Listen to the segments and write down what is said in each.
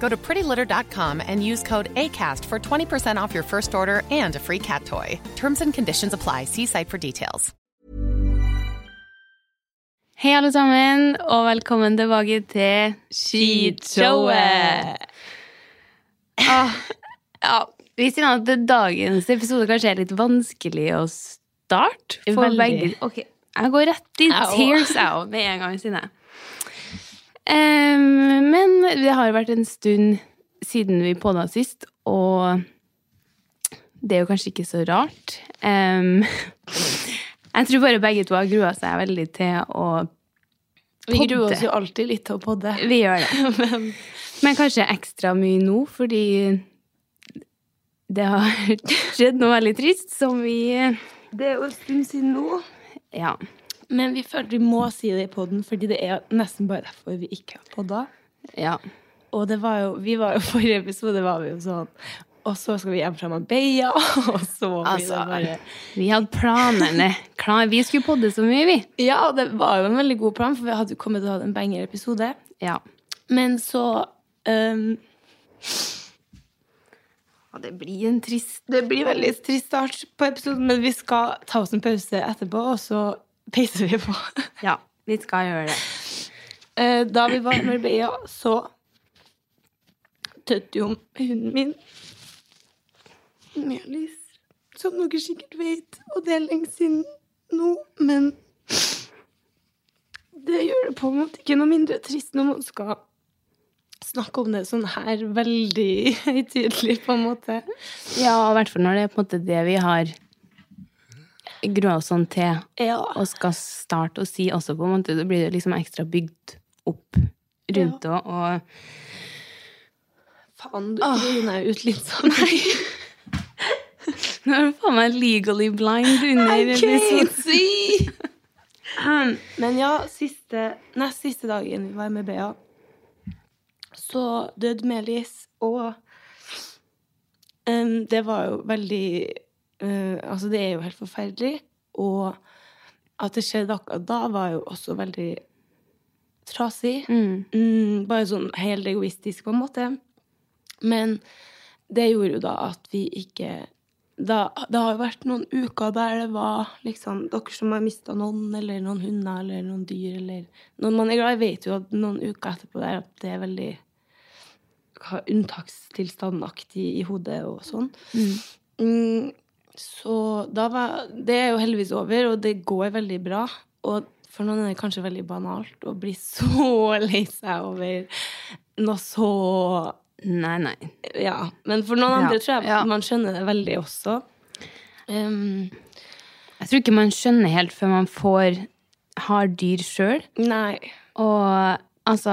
Go to prettylitter.com and use code ACAST for 20% off your first order and a free cat toy. Terms and conditions apply. See site for details. Hei, alle sammen, og velkommen tilbake til Skishowet. Åh, Ah, ja, vi sier at dagens episode kanskje er litt vanskelig å starte. For Veldig. begge Ok, jeg går rett i Au. tears out med en gang, Sine. Um, men det har vært en stund siden vi podda sist, og det er jo kanskje ikke så rart. Um, jeg tror bare begge to har grua seg veldig til å Vi Podde. gruer oss jo alltid litt til å podde. Vi gjør det. Men Men kanskje ekstra mye nå, fordi det har skjedd noe veldig trist som vi det er jo en stund siden nå. Ja. Men vi føler vi må si det i podden, fordi det er nesten bare derfor vi ikke har podda. ja. Og det var jo, vi var jo forrige episode var vi jo sånn Og så skal vi hjem fra Marbella, og så var vi Altså, da bare vi hadde planene klare. Vi skulle podde så mye, vi. Ja, og det var jo en veldig god plan, for vi hadde jo kommet til å ha en banger-episode. Ja. Men så ehm, det blir en trist Det blir veldig trist start på episoden, men vi skal ta oss en pause etterpå, og så peiser vi på. Ja, vi skal gjøre det. Eh, Da vi var i Marbella, så tødde jo hunden min Melis, som dere sikkert vet, og det er lenge siden nå, men det gjør det på en måte ikke noe mindre trist når man skal snakke om det sånn her veldig høytidelig, på en måte. Ja, i hvert fall når det er på en måte det vi har grua oss sånn til, Ja. og skal starte å si også, på en måte. Da blir det liksom ekstra bygd opp rundt det, og Faen, du griner jo ut litt sånn. Nå er du faen meg legally blind under I episoden. can't see! Um, Men ja, siste, nest siste dagen vi var med Bea, så døde Melis, og em, det var jo veldig eh, Altså, det er jo helt forferdelig, og at det skjedde akkurat da, var jo også veldig trasig. Mm, bare sånn helt egoistisk, på en måte. Men det gjorde jo da at vi ikke da, Det har jo vært noen uker der det var liksom Dere som har mista noen, eller noen hunder, eller noen dyr, eller Noen man er glad i, vet jo at noen uker etterpå der at det er veldig hva, unntakstilstandaktig i hodet og sånn. Mm, så da var Det er jo heldigvis over, og det går veldig bra. Og for noen er det kanskje veldig banalt å bli så lei seg over noe så Nei, nei. ja, men for noen andre Ja, tror jeg ja. man skjønner det veldig også. Um, Jeg tror ikke man skjønner helt før man får har dyr sjøl. nei. Og altså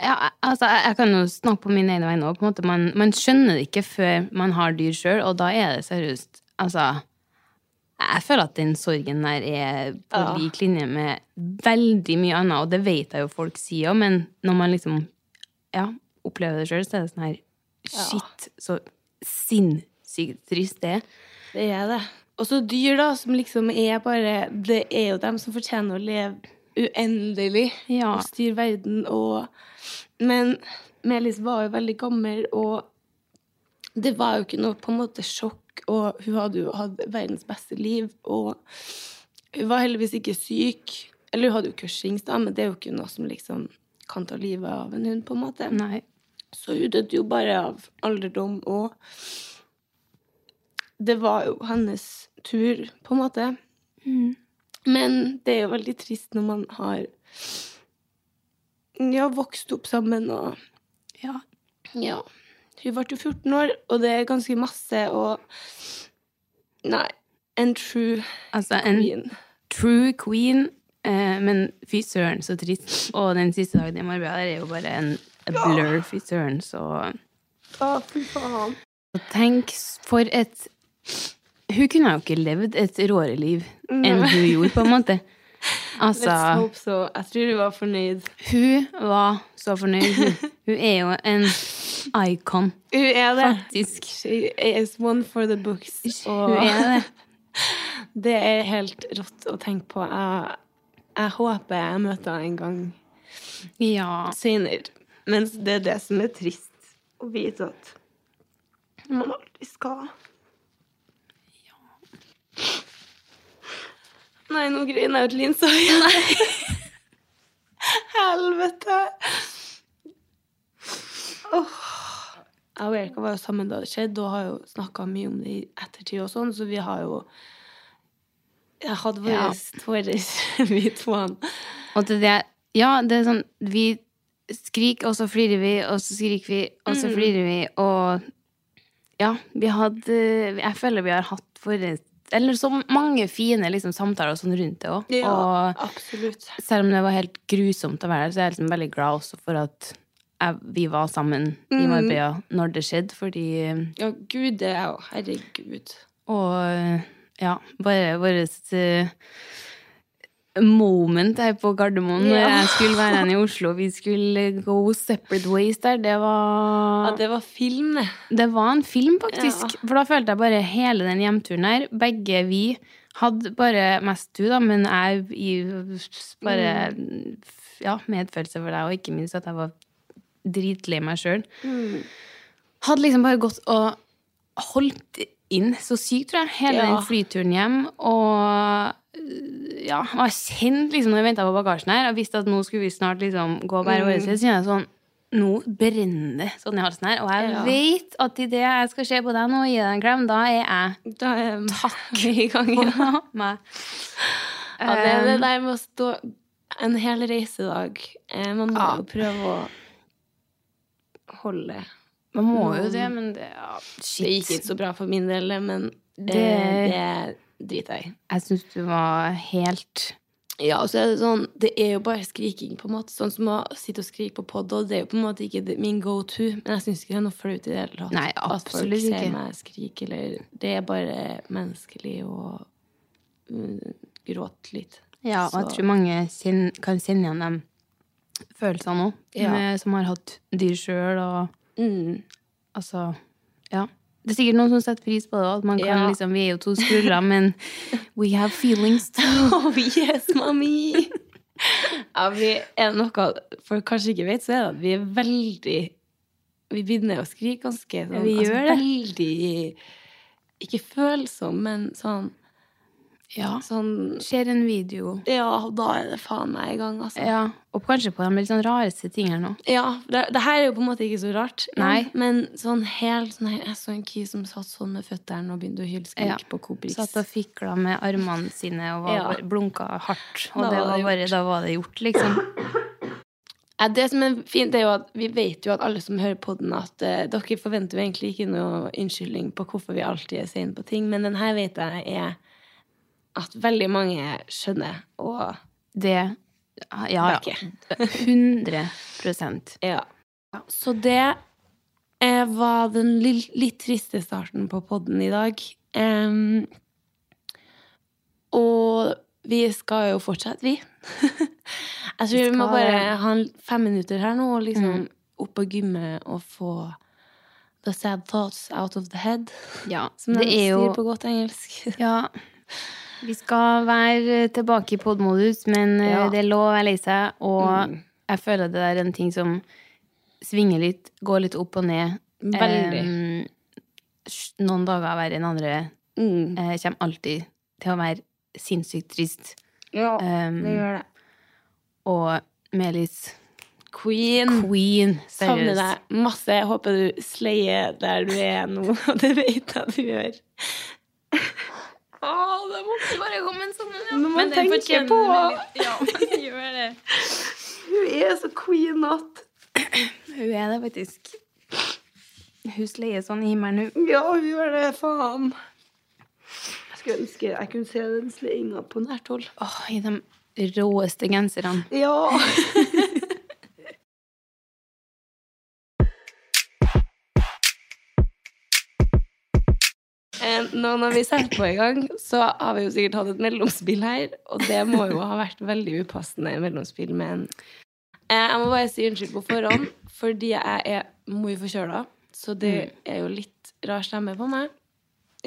ja, altså, jeg, jeg kan jo snakke på min egen vegne òg. Man, man skjønner det ikke før man har dyr sjøl, og da er det seriøst Altså, jeg føler at den sorgen der er på Ja. lik linje med veldig mye annet, og det vet jeg jo folk sier òg, men når man liksom ja, opplever det sjøl, så er det sånn her Shit, så sinnssykt trist det er. Det er det. Og så dyr, da, som liksom er bare Det er jo dem som fortjener å leve uendelig Ja. og styre verden og Men Melis var jo veldig gammel, og det var jo ikke noe på en måte sjokk, og hun hadde jo hatt verdens beste liv, og hun var heldigvis ikke syk. Eller hun hadde jo cushings, da, men det er jo ikke noe som liksom kan ta livet av en hund, på en måte. Nei. Så hun døde jo bare av alderdom, og det var jo hennes tur, på en måte. Mm. Men det er jo veldig trist når man har ja, vokst opp sammen og Ja. ja. Hun ble jo 14 år, og det er ganske masse, og Nei. En true Altså, en queen. true queen, eh, men fy søren, så trist. Og den siste dagen i Marbella er jo bare en a blur, fy søren, så Å, fy faen. Og Tenk s- for et Hun kunne jo ikke levd et råere liv enn hun gjorde, på en måte. Altså Let's hope so. Jeg tror hun var fornøyd. Hun var så fornøyd. Hun, hun er jo en icon, Hun er det. faktisk. She is one for the books. Og Hun er det. det er helt rått å tenke på. Jeg, jeg håper jeg møter henne en gang Ja. senere. Mens det er det som er trist. Å vite at man aldri skal Nei, nå griner jeg ut linsa igjen. Helvete! Åh. Jeg og Erika var jo sammen da det skjedde, og har jo snakka mye om det i ettertid, og sånn, så vi har jo Jeg hadde vår Ja. vår- vi to. Og til det Ja, det er sånn Vi skriker, og så flirer vi, og så skriker vi, og så flirer vi, og Ja, vi hadde Jeg føler vi har hatt våre Eller så mange fine liksom, samtaler og sånn rundt det òg. og absolutt. selv om det var helt grusomt å være der, så er jeg liksom veldig glad også for at jeg, vi var sammen i Marbella når det skjedde, fordi Ja, gud, det er jo Herregud. Og ja, bare vårt eh, moment her på Gardermoen når jeg skulle være igjen i Oslo, vi skulle go separate ways der, det var Ja, det var film, det. Det var en film, faktisk. For da følte jeg bare hele den hjemturen her. Begge vi hadde bare Mest du, da, men jeg i, bare Ja, medfølelse for deg, og ikke minst at jeg var dritlei meg sjøl. Hadde liksom bare gått og holdt inn så sykt, tror jeg, hele Ja. den flyturen hjem. Og ja, og jeg kjente liksom når jeg venta på bagasjen her, og visste at nå skulle vi snart liksom gå hver vår side, så kjenner jeg sånn nå brenner det sånn i halsen her. Og jeg Ja. vet at idet jeg skal se på deg nå og gi deg en klem, da er jeg Da er Takk. i gang. Ja. på meg. Ja, det er det der med å stå en hel reisedag. Eh, Man må jo prøve å holde Man må jo det, men det ja, Det Um, Shit. gikk ikke så bra for min del, men det, Det- det driter jeg i. Jeg syns du var helt Ja, og så er det sånn Det er jo bare skriking, på en måte. Sånn som å sitte og skrike på pod, og det er jo på en måte ikke det- min go to. Men jeg syns ikke det er noe flaut i det hele tatt. Nei, absolutt At folk ikke. ser meg skrike, eller Det er bare menneskelig å mm, gråte litt. Ja, og jeg tror mange kjen, kan kjenne igjen de følelsene òg, Ja. som har hatt dyr sjøl og Mm. Altså, ja. Det er sikkert noen som setter pris på det òg, at man kan Ja. liksom Vi er jo to skruller, men we have feelings too. Oh yes, mommy! ja, vi er noe folk kanskje ikke vet, så er det at vi er veldig Vi begynner å skrike ganske sånn Vi gjør det. Veldig Ikke følsom, men sånn, Ja. sånn Ser en video. Ja, da er det faen meg i gang, altså. Ja, og kanskje på de litt sånn rareste tingene nå. Ja, det, det her er jo på en måte ikke så rart. Nei. Men sånn helt sånn her, Jeg så en ki som satt sånn med føttene og begynte å hylskrike Ja. på Cobrix. Satt og fikla med armene sine og var, Ja. bare- blunka hardt. Da Og det var var det bare, da var det gjort, liksom. Ja, det som er fint, er jo at vi vet jo at alle som hører på den, at eh, dere forventer jo egentlig ikke noe unnskyldning på hvorfor vi alltid er sene på ting, men den her vet jeg er at veldig mange skjønner. Og Det Ja, ja. Merke. 100 ja. Så det eh, var den lill- litt triste starten på podden i dag. Em, og vi skal jo fortsette, vi. Jeg tror vi, Mm. må skal bare det. ha en- fem minutter her nå og liksom opp og gymme og få The sad thoughts out of the head. Ja, Som de det er sier på jo godt engelsk. Ja. Vi skal være tilbake i podmodus, men eh, Ja. Mm. det er lov å være lei seg. Og jeg føler det er en ting som svinger litt, går litt opp og ned. Veldig. Eh, s- noen dager verre enn andre. Mm. Eh, kommer alltid til å være sinnssykt trist. Ja, Um, det gjør det. Og Melis Queen. queen, Savner seriøst. deg masse. Jeg håper du sleier der du er nå, og det vet jeg du gjør. det måtte bare komme en sånn Når man Men den tenker fortjener på- meg litt. Ja, man gjør det. Hun er så queen at Hun er det faktisk. Hun sleier sånn i himmelen, hun. Ja, hun gjør det, faen. Jeg skulle ønske jeg kunne se den sleinga på nært hold. Åh, I de råeste genserne. Ja. Eh, Nå når vi setter på i gang, så har vi jo sikkert hatt et mellomspill her. Og det må jo ha vært veldig upassende mellomspill med en Eh, Jeg må bare si unnskyld på forhånd, fordi jeg er mye forkjøla. Så det er jo litt rar stemme på meg.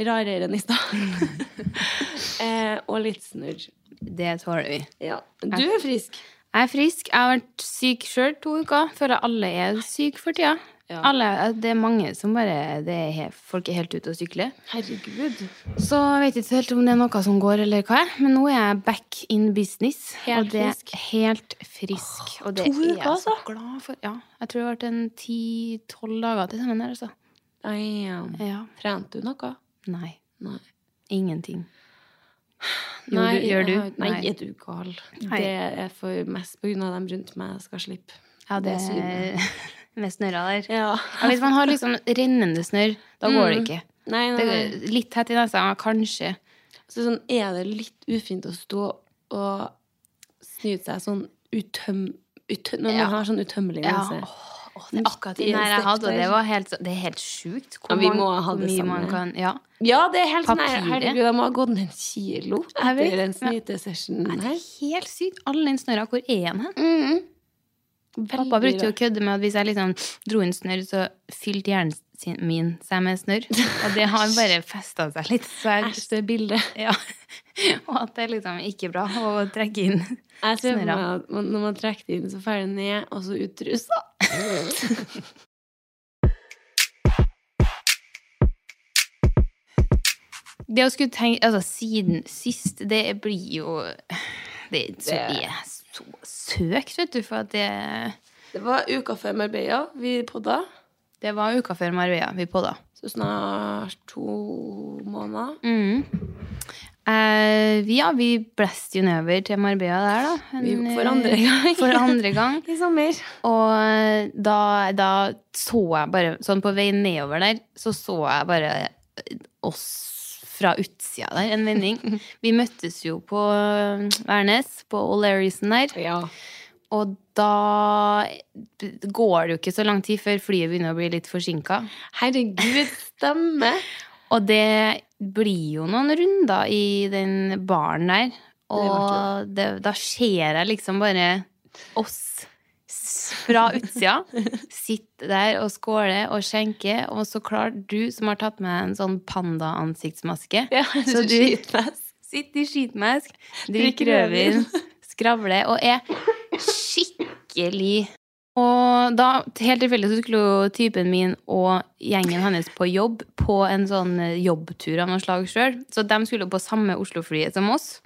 Rarere enn i stad. eh, og litt snurr. Det tåler vi. Ja. Du er frisk. Jeg er frisk. Jeg har vært syk sjøl to uker. Føler alle er syke for tida. Alle, det er mange som bare det er, he- Folk er helt ute og sykler. Herregud. Så jeg vet ikke helt om det er noe som går, eller hva. Men nå er jeg back in business. og Helt det frisk. er helt frisk. og det to er uker, jeg så altså. glad for. Ja, jeg tror det har vært en ti-tolv dager til sammen her, altså. Damn. Ja. Trente du noe? Nei. Nei. Ingenting. Gjør du- gjør jeg du? har- Nei, Nei. er du gal? Nei. Det er for mest på grunn av dem rundt meg jeg skal slippe. Ja, det Det er med snørra der. Ja. Ja, hvis man har liksom rennende snørr, da går det ikke. Nei, nei, Det nei. er litt tett i nesa, ja, kanskje. Så sånn, er det litt ufint å stå og snyte seg sånn utøm... utøm når man Ja. har sånn utømmelig Ja. nese. Det er akkurat den her jeg hadde, og det, var helt, så- det er helt sjukt hvor Ja, vi mange- må ha hvor det mye samme. man kan Ja. Ja, det er helt sånn her, Papiret. Herregud, jeg må ha gått ned en kilo Jeg vet, etter en men- snytesession Nei, det her. er helt sykt. Alle den snørra, hvor er den hen? Mm. Veldig Pappa brukte jo å rart. kødde med at hvis jeg liksom dro inn snørr, så fylte hjernen sin, min seg med snørr. Og det har bare festa seg litt. Så jeg, Æsj, det bildet. ja. Og at det er liksom ikke bra å trekke inn Jeg ser for Snurra. meg at man, når man trekker det inn, så faller det ned, og så ut trusa. Det å skulle tenke Altså, siden sist, det blir jo Det er så, Det- er så søkt, vet du, for at det Det var uka før Marbella vi podda. Det var uka før Marbella vi podda. Så snart to måneder. Mm. Eh, vi- ja, vi blåste jo nedover til Marbella der, da. Vi gjorde En, eh, for andre gang. For andre gang. I sommer. Og eh, da, da så jeg bare Sånn på vei nedover der, så så jeg bare eh, oss fra utsida der, en vending. Vi møttes jo på eh, Værnes, på O'Larrison der. Ja. Og da eh, går det jo ikke så lang tid før flyet begynner å bli litt forsinka. Herregud, stemme! Og det blir jo noen runder i den baren der. Og det, da ser jeg liksom bare oss s- fra utsida. Sitte der og skåle og skjenke. Og så klart du som har tatt med en sånn panda-ansiktsmaske. Ja, så du skitfest. sitter i skitmask, drikker Drikker rødvin. rødvin, skravler og er skikkelig Og da, helt tilfeldig, så skulle jo typen min og gjengen hennes på jobb på en sånn eh, jobbtur av noe slag sjøl. Så de skulle jo på samme Oslo-flyet som oss.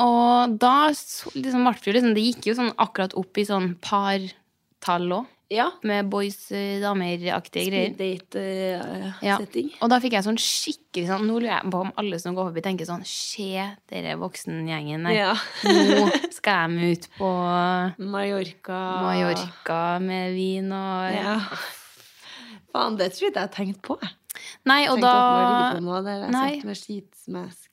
Og da så- liksom, ble det jo liksom Det gikk jo sånn akkurat opp i sånn partall òg. Ja. Med boys-damer-aktige greier. Ja. Date-setting. Og da fikk jeg sånn skikkelig sånn Nå lurer jeg på om alle som går forbi, tenker sånn Se dere voksengjengen der. Ja. Nå skal de ut på Mallorca. Mallorca med vin og Ah. Ja. Faen, det tror jeg ikke jeg har tenkt på. jeg. Nei, og da Tenkte at man ligger på noe der jeg Nei. satt med skitmask.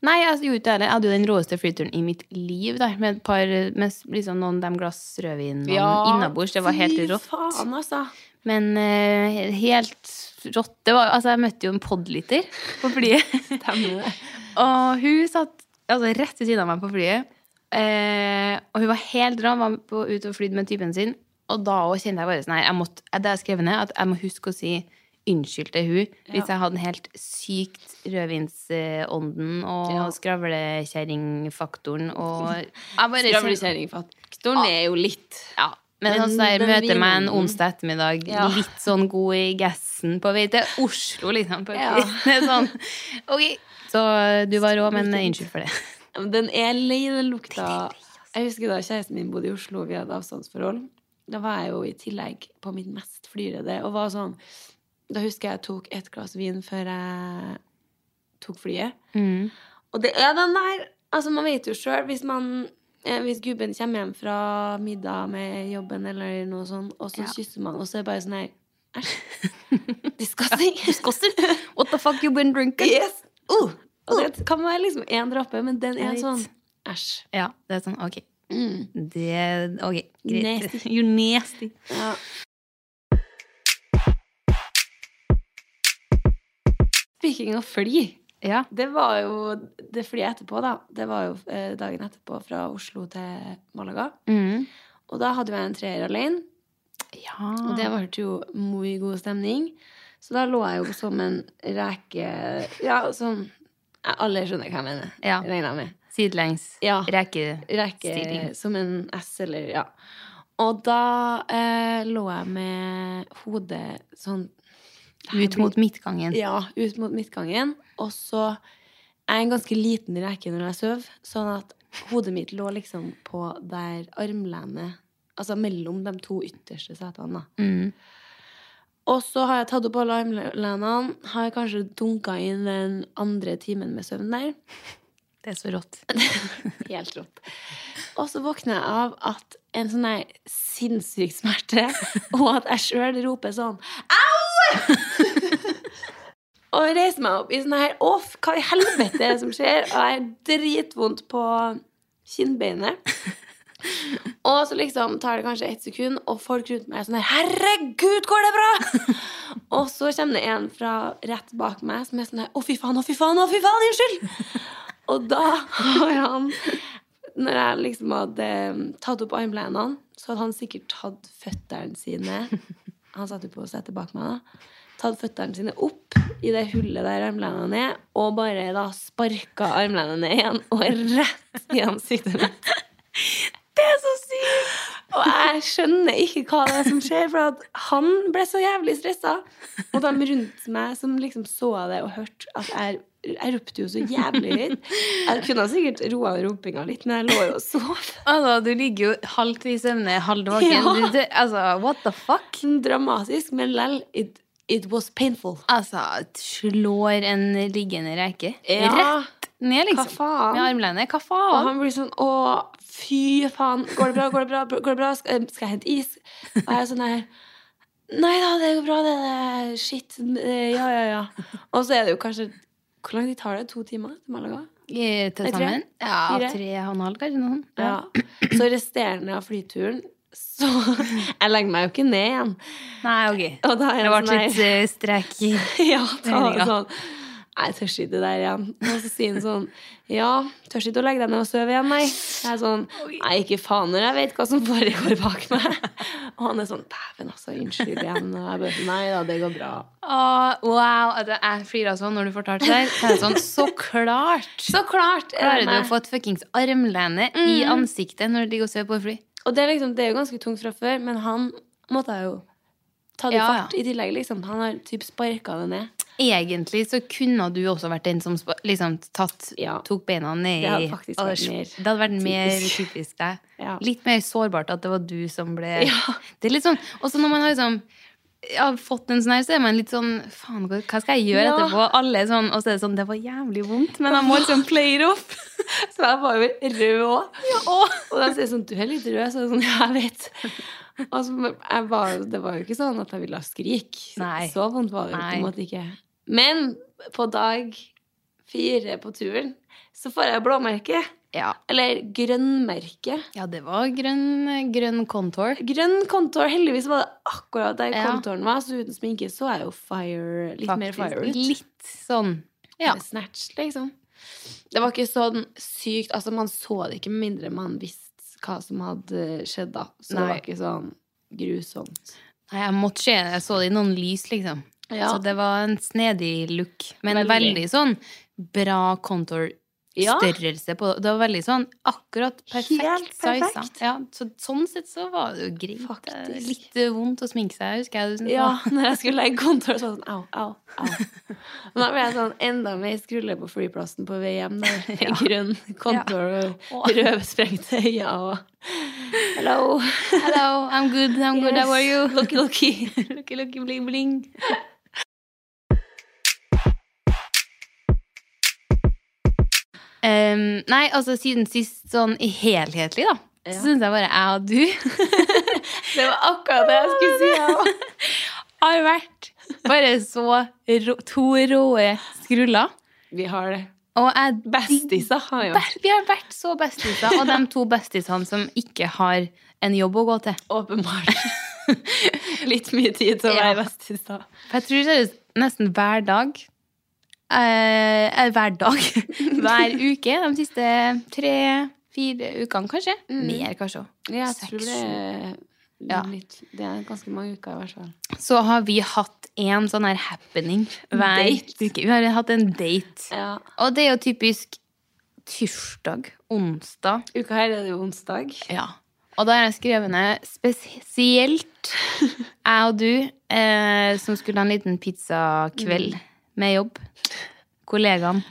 Nei, jeg gjorde ikke det heller. Jeg hadde jo den råeste flyturen i mitt liv der, med, et par, med liksom noen dem glass rødvin og innabords. Det var helt fy rått. Faen, altså. Men eh, helt rått. Det var, altså, jeg møtte jo en podliter på flyet. Stemmer det. Og hun satt altså, rett ved siden av meg på flyet. Eh, og hun var helt rå, var på, ute og flydde med typen sin. Og da også kjente jeg bare sånn her jeg måtte, Det jeg skrev ned, at jeg må huske å si unnskyldte hun hvis jeg hadde helt sykt rødvinsånden og Ja. skravlekjerringfaktoren og jeg bare, sånn- Skravlekjerringfaktoren er jo litt Ja, men, Men altså, jeg den møter meg en vinen- onsdag ettermiddag Ja. litt sånn god i gassen på vei til Oslo, liksom. På Ja. vei. Det er sånn. Ok. Så du var rå, men unnskyld for det. Men Den er lei den lukta. Jeg husker da kjæresten min bodde i Oslo, vi hadde avstandsforhold. Da var jeg jo i tillegg på mitt mest flyrede. Og var sånn Da husker jeg jeg tok et glass vin før jeg tok flyet. Og det er den der Altså, man vet jo sjøl hvis man eh, hvis gubben kommer hjem fra middag med jobben eller noe sånt, og så kysser man, og så er det bare sånn her Æsj. Disgusting. What the fuck you been drinking? Yes. Uh, og det kan være liksom én dråpe, men den er Jeg vet. sånn Æsj. Ja, det er sånn, ok. Mm. Det, ok, greit. Nasty. You're nasty. Ja. Speaking of fly. Ja. Det var jo det flyet etterpå, da. Det var jo eh, dagen etterpå fra Oslo til Malaga. Mm. Og da hadde jo jeg en treer alene. Ja. Og det ble jo mye god stemning. Så da lå jeg jo som en reke Ja, sånn ja, Alle skjønner hva jeg mener. Ja. Regner jeg med. Sidelengs. Ja. Reke. Reke Stilling. som en S eller Ja. Og da eh, lå jeg med hodet sånn Ut mot midtgangen. Ja, ut mot midtgangen. Og så er jeg en ganske liten reke når jeg sover, sånn at hodet mitt lå liksom på der armlenet Altså mellom de to ytterste setene, da. Mm. Og så har jeg tatt opp alle armlenene, har jeg kanskje dunka inn den andre timen med søvn der. Det er så rått. Helt rått. Og så våkner jeg av at en sånn her sinnssyk smerte, og at jeg sjøl roper sånn Au! og jeg reiser meg opp i sånn her Åh, hva i helvete er det som skjer? Og jeg har dritvondt på kinnbeinet. Og så liksom tar det kanskje ett sekund, og folk rundt meg er sånn her Herregud, går det bra? og så kommer det en fra rett bak meg som er sånn her Å, fy faen, å, fy faen, å, fy faen, unnskyld! Og da har han Når jeg liksom hadde tatt opp armlenene, så hadde han sikkert tatt føttene sine Han satt jo på setet bak meg, da. Tatt føttene sine opp i det hullet der armlenene er, og bare da sparka armlenene ned igjen, og rett i ansiktet mitt. Det er så sykt! Og jeg skjønner ikke hva det er som skjer, for at han ble så jævlig stressa. Og de rundt meg som liksom så det og hørte at jeg jeg ropte jo så jævlig høyt. Jeg kunne sikkert roa rumpinga litt, men jeg lå jo og sov. Altså, du ligger jo halvt i søvne, halvt våken. Ja. Du- du- Altså, what the fuck? Sånn Dramatisk, men lell, it, it was painful. Altså, slår en liggende reke Ja. rett ned, liksom. Hva faen? Med armlenet. Hva Og faen? han blir sånn Å, fy faen. Går det bra? Går det bra? Går det bra? Skal, eh, skal jeg hente is? Og jeg er sånn her Nei da, det går bra, det. det shit. eh, Ja, ja, ja. Og så er det jo kanskje Hvor lang tid tar det? To timer til Malaga? Eh, Til Nei, tre? sammen? Ja, Fire? tre og en halv, kanskje noe sånt. Ja. Så resterende av flyturen så Jeg legger meg jo ikke ned igjen. Nei, ok. Og da er det det ble sånn her- litt eh, strek i Ja, da var meninga. det sånn Nei, jeg tør ikke det der igjen. Og så sier han sånn Ja, tør ikke å legge deg ned og sove igjen, nei. Jeg er sånn Nei, ikke faen når jeg vet hva som foregår bak meg. Og han er sånn Dæven, altså. Unnskyld igjen. Og jeg bare Nei da, det går bra. Å, Ah, wow! at Jeg flira sånn når du fortalte det. her. Så er jeg Sånn, så klart! Så klart. er Klarer det du å meg. Mm. få et fuckings armlene i ansiktet når du ligger og sover på fly? Og det er, liksom, det er jo ganske tungt fra før, men han måtte jeg jo ta det i Ja, ja. fart i tillegg, liksom. Han har typ sparka det ned. Egentlig så kunne du også vært den som spa- liksom tatt, Ja. tok beina ned Det hadde i- faktisk og vært sp- mer Det hadde vært mer typisk. typisk deg. Ja. Litt mer sårbart at det var du som ble Ja. Det er litt sånn Også når man har liksom ja, fått en sånn her, så er man litt sånn Faen, hva hva skal jeg gjøre Ja. etterpå? Alle er sånn, Og så er det sånn Det var jævlig vondt, men jeg må liksom play it off. Så jeg var jo rød òg. Og de sier sånn Du er litt rød. Så jeg er sånn, ja, jeg vet. Og så jeg var, det var jo ikke sånn at jeg ville skrike. Nei. Så vondt var det jo på Nei. en måte ikke. Men på dag fire på turen så får jeg blåmerke. Ja. Eller grønnmerke. ja, det var grønn, grønn contour. Grønn kontor. Heldigvis var det akkurat der Ja. kontoren var. Så uten sminke så er jeg jo fire, litt mer faktisk. fire ut. Litt sånn. Ja. med snatch, liksom. Det var ikke sånn sykt Altså, man så det ikke med mindre man visste hva som hadde skjedd, da. Så det Nei. var ikke sånn grusomt. Nei, jeg måtte se Jeg så det i noen lys, liksom. Ja. Så det var en snedig look. Men Veldig. veldig, sånn bra Ja. kontorstørrelse på Det var veldig sånn akkurat perfekt Helt perfekt. size. Ja, så, sånn sett så var det jo greit. Faktisk. Det er Litt eh, vondt å sminke seg, husker jeg. Du syntes det Ja, var- når jeg skulle legge kontor, så var det sånn au, au, au. Men da ble jeg sånn enda mer skrulle på flyplassen på vei hjem. Der. Grønn kontor og rødesprengte øyne og Hello. Hello, I'm good, I'm good, how are you? Lucky, lucky. Lucky, lucky, bling, bling. Em, nei, altså siden sist sånn i helhetlig, da, så syns jeg bare jeg og du Det var akkurat det jeg skulle si. ja. har vært bare så rå, to råe skruller. Vi har det. Og jeg Bestiser har jo Ber- Vi har vært så bestiser, og de to bestisene som ikke har en jobb å gå til. åpenbart litt mye tid til å Ja. være bestis, da. For jeg tror seriøst nesten hver dag eh, eh, Hver dag. Hver uke de siste tre-fire ukene, kanskje. Mer, kanskje. også. Ja, jeg Seks, tror det er Ja. litt Det er ganske mange uker, i hvert fall. Så har vi hatt en sånn her happening hver Date. uke. Vi har hatt en date. Ja. Og det er jo typisk tirsdag, onsdag, Uka her er det jo onsdag. Ja. Og da har jeg skrevet ned spesielt jeg og du, eh, som skulle ha en liten pizzakveld med jobb. Kollegaen.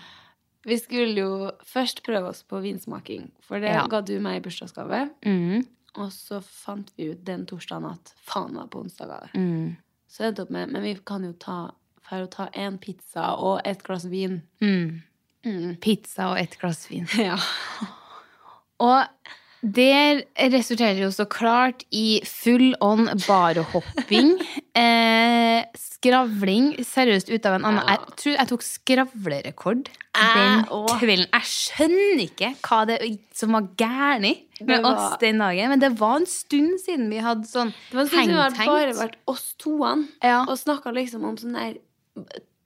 Vi skulle jo først prøve oss på vinsmaking, for det Ja. ga du meg i bursdagsgave. Mm. Og så fant vi ut den torsdagen at faen var på onsdag av det. Så det endte opp med Men vi kan jo ta for å ta en pizza og et glass vin. Pizza og et glass vin. Ja. Og det resulterer jo så klart i full on barehopping. Eh, skravling seriøst ut av en annen. Jeg tror jeg tok skravlerekord den Jeg også. kvelden. Jeg skjønner ikke hva det som var gærent med var- oss den dagen, men det var en stund siden vi hadde sånn Det var en stund siden det hadde bare hengt-hengt. vært oss toene Ja. og snakka liksom om sånn der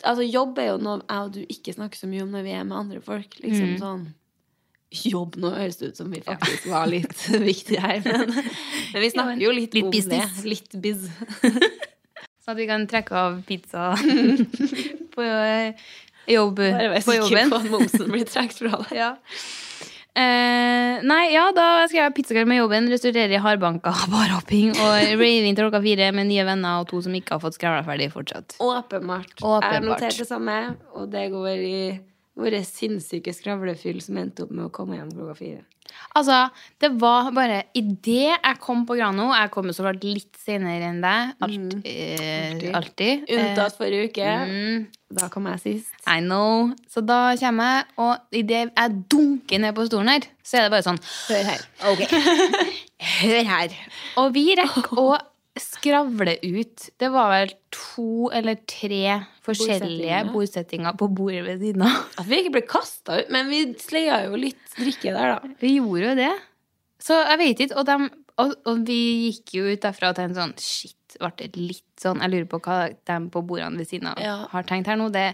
Altså, jobb er jo noe jeg og du ikke snakker så mye om når vi er med andre folk. Liksom Mm. sånn Jobb nå høres det ut som vi faktisk var litt viktige her, men, men vi snakker jo litt, litt om business. det. Litt biz. Sånn at vi kan trekke av pizza på, eh, jobb, Bare vær på sikker jobben. på at momsen blir trukket fra deg. Ja. Eh, nei, ja, da skrev jeg pizzakveld med jobben, restaurerer i hardbanka, barhopping og raving til klokka fire med nye venner og to som ikke har fått skravla ferdig fortsatt. Åpenbart. Jeg Åpenbart. noterte det samme, og det går i våre sinnssyke skravlefyll som endte opp med å komme hjem klokka fire. Altså, det var bare Idet jeg kom på Grano Jeg kom jo så klart litt senere enn deg. Alt, eh, alltid. Mm. Unntatt forrige uke. Eh, mm, Da kom jeg sist. I know. Så da kommer jeg, og idet jeg dunker ned på stolen her, så er det bare sånn Hør her. Hør her. Og vi rekker å skravle ut Det var vel to eller tre forskjellige Bordsettinger. bordsettinger på bordet ved siden av. At vi ikke ble kasta ut, men vi sleia jo litt drikke der, da. Vi gjorde jo det. Så jeg vet ikke. Og, dem- og, og vi gikk jo ut derfra og tenkte sånn Shit, ble det litt sånn Jeg lurer på hva de på bordene ved siden av Ja. har tenkt her nå. Det,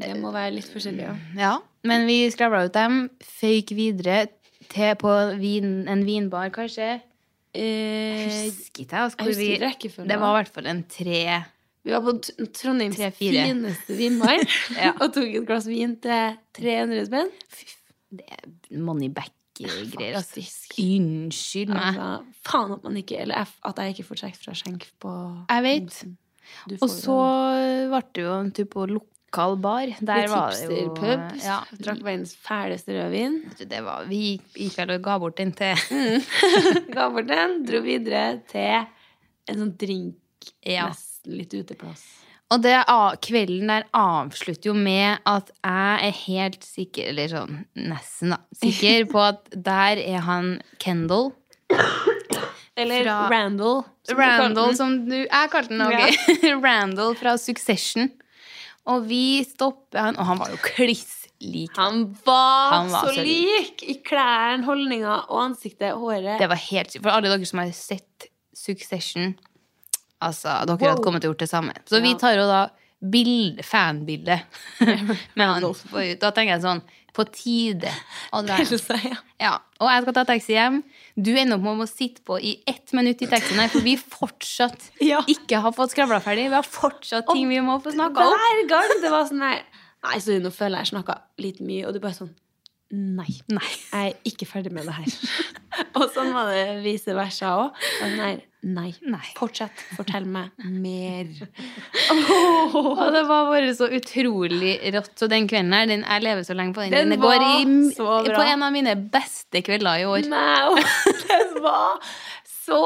Det Eh, må være litt forskjellig, ja. ja. Men vi skravla ut dem, føyk videre til på vin, en vinbar, kanskje. Eh, Husker ikke jeg. altså, jeg hvor husker vi- ikke rekkefølgen. Det var i hvert fall en tre vi var på T- Trondheims Tre-fire. fineste vinbar Ja. og tok et glass vin til 300 spenn. moneyback-greier. Altså. Faktisk. Unnskyld meg. Altså, faen at man ikke Eller F, at jeg ikke får trekk fra skjenk på Jeg vet. Du får Og så ble det jo en tur på lokal bar. Der Der var det jo Pub. Ja, Drakk verdens fæleste rødvin. det var, vi gikk- gikk vel og ga bort den til Mm. Ga bort den, dro videre til en sånn drink. Ja. Nesten litt uteplass. Og det, a- kvelden der avslutter jo med at jeg er helt sikker, eller sånn nesten da, sikker på at der er han Kendall. Eller Fra- Randall. som du kalte Randall, den. som du Jeg kalte den ok. Randall fra Succession. Og vi stopper han, og han var jo kliss lik. Han var, Han var så så lik i klærne, holdninga og ansiktet, håret. Det var helt sykt. For alle dere som har sett Succession, altså, dere hadde kommet til å gjort det samme. Så vi tar jo da bild, fanbildet med han. på- Da tenker jeg sånn På tide å dra hjem. Pelse, ja. Ja, og jeg skal ta taxi hjem. Du ender opp med å sitte på i ett minutt i taxien her, for vi fortsatt Ja. ikke har fått skravla ferdig. Vi har fortsatt ting vi må få snakka om. Hver gang det var sånn her Nei, sorry, nå føler jeg jeg snakka litt mye, og du bare sånn Nei. Nei. Jeg er ikke ferdig med det her. og sånn var det vice versa òg. Nei, nei. Nei. Fortsett. Fortell meg mer. Og det var bare så utrolig rått. Så den kvelden her, den, jeg lever så lenge på den. Den Den går i, var så bra. på en av mine beste kvelder i år. Nei, og det var så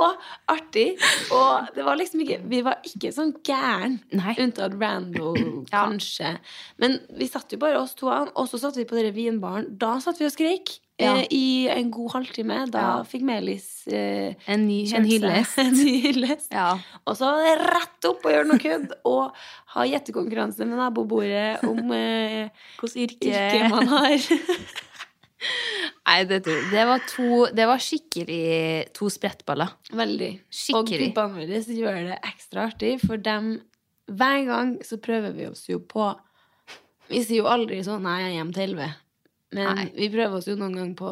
artig. Og det var liksom ikke Vi var ikke sånn gæren. Nei. Unntatt Rando, kanskje. Men vi satt jo bare oss to an, og så satt vi på den vinbaren. Da satt vi og skrek. Ja. eh, I en god halvtime. Da Ja. fikk Melis eh, En ny en kjørt hyllest. seg en ny hyllest. Ja. Og så var det rett opp og gjøre noe kødd og ha gjettekonkurranse med nabobordet om eh, Hvordan yrket man har. Nei, det, det, var to, det var skikkelig to sprettballer. Veldig. Skikkelig. Og gubbene våre så gjør det ekstra artig, for dem Hver gang så prøver vi oss jo på Vi sier jo aldri sånn 'nei, jeg er hjem til elleve', men Nei. vi prøver oss jo noen gang på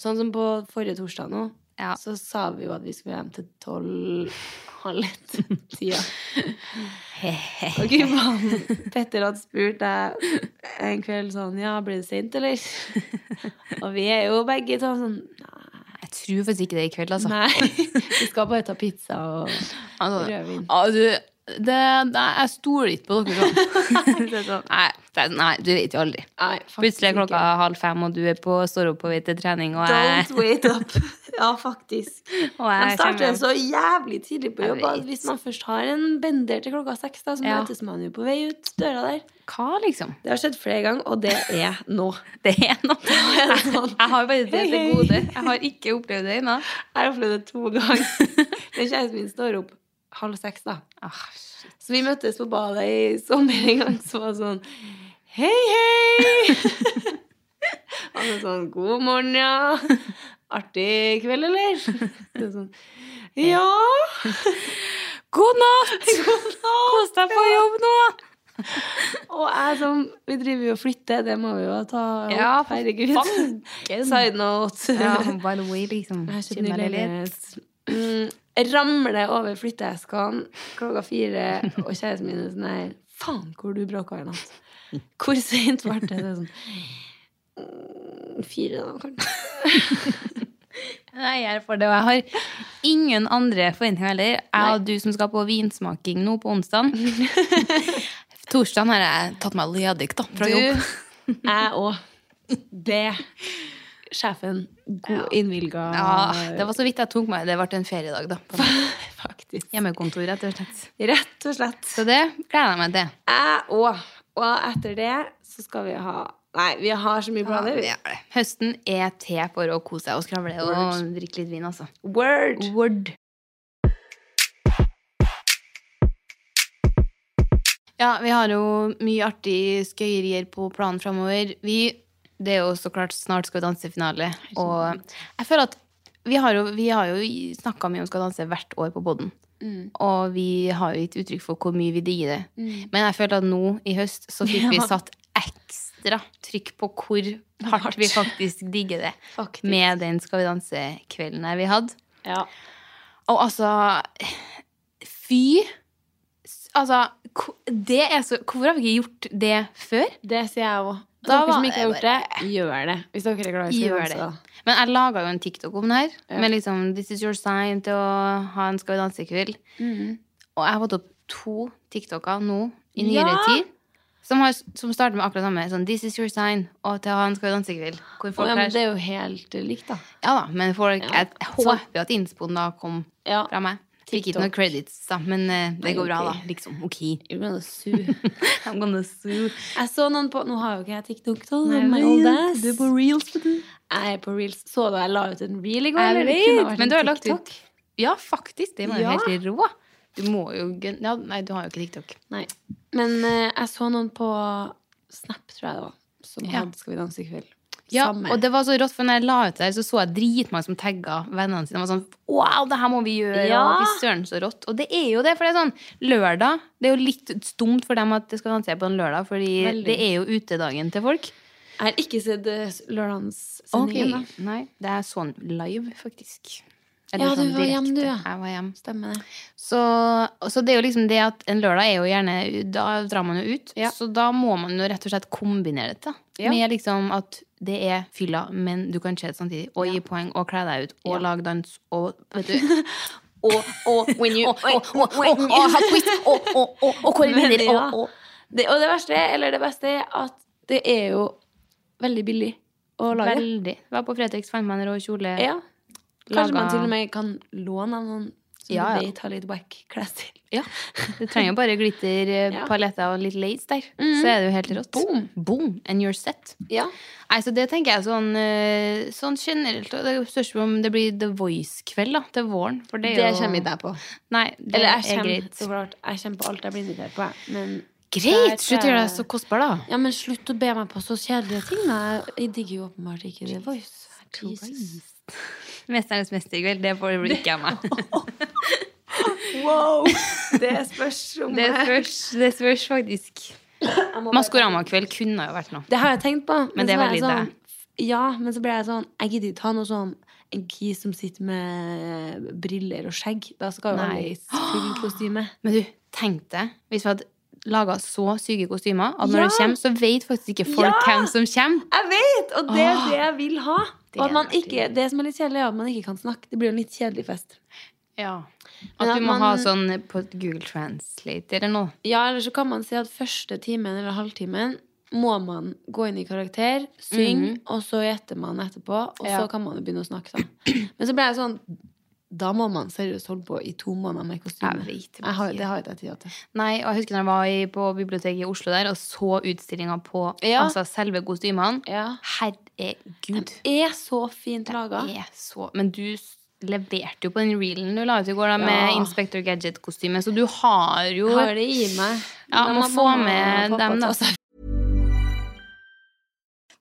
Sånn som på forrige torsdag nå, Ja. så sa vi jo at vi skulle hjem til tolv halv ett-tida. Og gubbene Petter hadde spurt deg en kveld sånn 'ja, blir det sent, eller?' Og vi er jo begge sånn sånn Nei. Jeg tror faktisk ikke det i kveld, altså. Nei, vi skal bare ta pizza og altså Rødvin. Ja, du, det, nei, jeg stoler ikke på dere. sånn. nei, det, er- nei, du vet jo aldri. Nei, faktisk Plutselig er ikke. klokka halv fem, og du er på, står opp på vei til trening, og Don't jeg, wait up. Ja, faktisk. og De jeg kommer starter hjem. så jævlig tidlig på Jeg jobb. at vet. Hvis man først har en bender til klokka seks, da, så Ja. møtes man jo på vei ut døra der. Hva, liksom? Det har skjedd flere ganger, og det er nå. Det er noe. er det sånn. Jeg har bare det Hei, til hei. gode. Jeg har ikke opplevd det ennå. Jeg har opplevd det to ganger. Men kjæresten min står opp halv seks, da. Ah, Så vi møttes på badet i sommer en gang, så var det sånn Hei, hei! Han er sånn God morgen, ja. Artig kveld, eller? Det er sånn Ja! God natt! Kos deg på jobb nå! Og jeg som Vi driver jo og flytter, det må vi jo ta opp. Ja, for herregud. fanken. Side note. Ja, by the way, liksom. Jeg har kjøpt kjenner ny jeg litt. leilighet. Mm, jeg Ramler over flytteeskene klokka fire, og kjæresten min er sånn her Faen, hvor du bråka i natt. Hvor seint ble det? det er sånn, «Mm, fire, da, kanskje. Nei, jeg er for det, og jeg har ingen andre forventninger heller. Jeg og du som skal på vinsmaking nå på onsdag. Torsdagen har jeg tatt meg ledig da, fra jobb. Du, jeg òg. Det Sjefen. God innvilga Ja, det var så vidt jeg tok meg. Det ble en feriedag, da. På Faktisk. hjemmekontor, rett og slett. Rett og slett. Så det gleder jeg meg til. Jeg òg. Og etter det så skal vi ha Nei, vi har så mye planer. vi. Høsten er til for å kose seg og skravle og drikke litt vin, altså. Word! Word. Ja, vi har jo mye artig skøyerier på planen framover. Vi Det er jo så klart snart Skal vi danse-finale, og jeg føler at vi har jo, vi har jo snakka mye om Skal danse hvert år på poden. Og vi har jo gitt uttrykk for hvor mye vi digger det. Men jeg følte at nå i høst så fikk vi satt ekstra trykk på hvor hardt vi faktisk digger det. Faktisk. Med den Skal vi danse-kvelden her vi hadde. Ja. Og altså Fy! S- Altså, ko- det er så Hvorfor har vi ikke gjort det før? Det sier jeg òg. Da Dere var som ikke har det gjort det, gjør det. Hvis dere er glad i Gjør Skal vi det. danse, da. Men jeg laga jo en TikTok om det her. Med liksom 'This is your sign' til å ha en Skal vi danse-kveld. Mhm. Og jeg har fått opp to TikToker nå i nyere Ja! tid. Som, har, som starter med akkurat samme. Sånn 'This is your sign' og til å ha en Skal vi danse-kveld. Hvor folk Å, ja, er men det er jo helt eh, likt, da. Ja da, men folk, jeg Så- håper jo at innspoen da kom Ja. fra meg. Fikk ikke TikTok. noen credits, da, men eh, det Nei, går bra, da. ok. Liksom. Ok. You're gonna sue. I'm gonna sue. Jeg så noen på Nå har jo ikke jeg TikTok, da. Nei, my men old ass. du er på reels, vet du. Jeg er på reels. Så du jeg la ut en reel i går? Jeg eller? Det vet, kunne vært men en du har lagt TikTok. ut. Ja, faktisk. Det var jo Ja. helt rå. Du må jo gønn- ja, Nei, du har jo ikke TikTok. Nei. Men eh, jeg så noen på Snap, tror jeg det var, som Ja. hadde Skal vi danse i kveld. Ja, Samme. og det var så rått, for når jeg la ut der, så så jeg dritmange som tagga vennene sine. Og var sånn, wow, det her må vi gjøre, Ja. og fy søren, så rått. Og det er jo det, for det er sånn, lørdag, det er jo litt stumt for dem at det skal danse på en lørdag, fordi Veldig. det er jo utedagen til folk. Jeg har ikke sett eh, Ok, lørdagssendingen. da. Nei, det er sånn live, faktisk. sånn Ja, du var hjemme, du, ja. Jeg var hjemme. Stemmer det. Så, så det er jo liksom det at en lørdag er jo gjerne Da drar man jo ut. Ja. Så da må man jo rett og slett kombinere dette. Ja. Med liksom at det er fylla, men du kan se det samtidig. Og gi poeng, og kle deg ut, og lage dans, og vet du Og, og when you Og, og, og, og, og ha quiz, og, og, og, og kåre Men vinner, ja. og, og det, og det verste, eller det beste, er at det er jo veldig billig å lage. Veldig. Var på Fretex, fant meg en rå kjole. ja. Kanskje Laga- man til og med kan låne av noen som Ja, ja. du vet har litt wack klær til. Ja. Du trenger jo bare glitter, eh, Ja. Mhm. paletter og litt lace der. Så er det jo helt rått. Boom. Boom. And you're set. Ja. Nei, så det tenker jeg sånn, eh, sånn generelt. og Det spørs jo om det blir The Voice-kveld da, til våren. For det, er jo... på. Nei, det Eller jeg er kommer, greit. så klart, jeg kommer på alt jeg blir invitert på. jeg. Men Greit! Der Slutt å gjøre deg så kostbar, da. Ja, men slutt å be meg på så kjedelige ting. Da. Jeg digger jo åpenbart ikke The Voice. Jesus. Mesternes mester i kveld, det får bli ikke av meg. Wow! Det spørs om Det spørs, det spørs faktisk. Maskorama-kveld kunne jo vært noe. Det har jeg tenkt på. Men det så var ble jeg litt sånn, Ja, men så ble jeg sånn Jeg gidder ikke ha noe sånn en kis som sitter med eh, briller og skjegg. Da skal jo alle Nei. i full kostyme. Men du, tenk deg hvis vi hadde laga så syke kostymer at når Ja. det kommer, så vet faktisk ikke folk Ja. hvem som kommer. Jeg vet! Og det er Åh. det jeg vil ha. Det Og at man hadde vært ikke, det som er litt kjedelig, er at man ikke kan snakke. Det blir jo en litt kjedelig fest. Men At at du må man- ha sånn på Google Translate eller noe. Ja, eller så kan man si at første timen eller halvtimen må man gå inn i karakter, synge, og så gjetter man etterpå, og Mhm. Ja. så kan man jo begynne å snakke sammen. Men så ble jeg sånn Da må man seriøst holde på i to måneder med Jeg kostyme. vet, Jeg har, det har ikke jeg tid til. Nei, og jeg husker når jeg var i, på biblioteket i Oslo der og så utstillinga på Ja. altså, selve kostymene. Ja. Herregud. Er så fint laga. Det er så Men du s- leverte jo på den reelen du la ut i går, da, med Ja. Inspector Gadget-kostyme, så du har jo Har det i meg. Ja, Men må da få mamma med og pappa dem, ta da. seg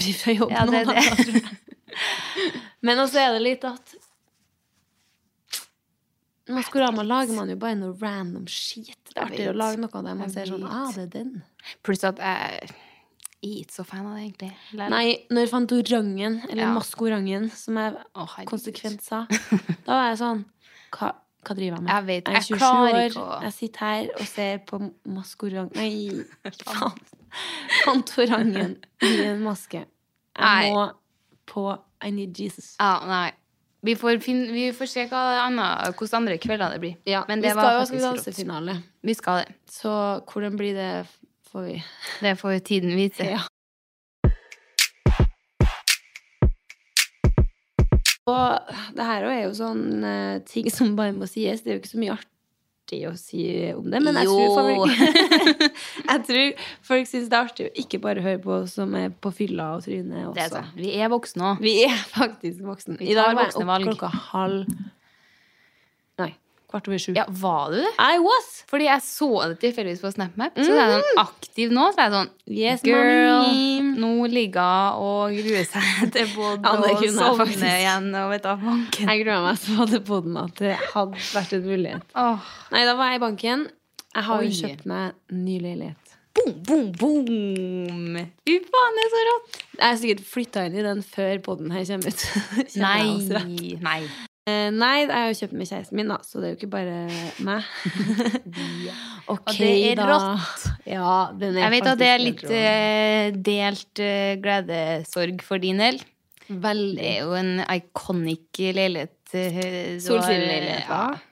fri fra jobb Ja, det nå, er da. det. Men også er det litt at Maskorama lager man jo bare noe random skit. Det er artig å vet. lage noe der man Jeg ser sånn vet. Ah, det er den. Pluss at jeg jeg er ikke så fan av det, egentlig. Eller- Nei, når Fantorangen, eller Ja. Maskorangen, som jeg Å, herregud. konsekvent sa, da var jeg sånn Hva, hva driver jeg med? Jeg vet, er jeg 27 klarer år, ikke å- Jeg sitter her og ser på Maskorang... Nei, faen. Fantorangen i en maske. Nei. Jeg må på I need Jesus. Ja, nei. Vi får, finne, vi får se hva annet, hvordan andre kvelder det blir. Ja, Men det vi var skal jo ha faktisk Skal vi rått. danse-finale. Vi skal det. Så hvordan blir det, får vi Det får tiden vise. Ja. Og det her også er jo sånn eh, ting som bare må sies. Det er jo ikke så mye art artig å si om det, men jeg Jo. tror, folk, jeg tror folk syns det er artig å ikke bare høre på oss som er på fylla og trynet Det er også. sånn. Vi er voksne nå. Vi er faktisk voksne. Vi I dag tar var jeg voksne opp valg. klokka halv Nei, kvart over sju. Ja, var du det? I was! Fordi jeg så det tilfeldigvis på SnapMap. Så det Mm. er sånn aktiv nå. Så det er sånn Yes, Girl, mommy. nå ligger hun og gruer seg til både Ja, det å kunne jeg sovne faktisk. igjen og vet du banken. Jeg gruer meg så til podden at det hadde vært en mulighet. Åh, Nei, da var jeg i banken. Jeg har Oi. jo kjøpt meg ny leilighet. boom, boom, boom! Fy faen, det er så rått! Jeg har sikkert flytta inn i den før podden her kommer ut. Kjenner jeg også rett. Nei. altså. Nei. Eh, nei, jeg har jo kjøpt den med kjæresten min, da, så det er jo ikke bare meg. ok, Og det er da. rått. Ja, den er Jeg vet at det er faktisk litt helt rå. eh, delt eh, gledesorg for din del. Det Veldig. er jo en iconic leilighet. eh, du har- Solsideleilighet, Ja. da.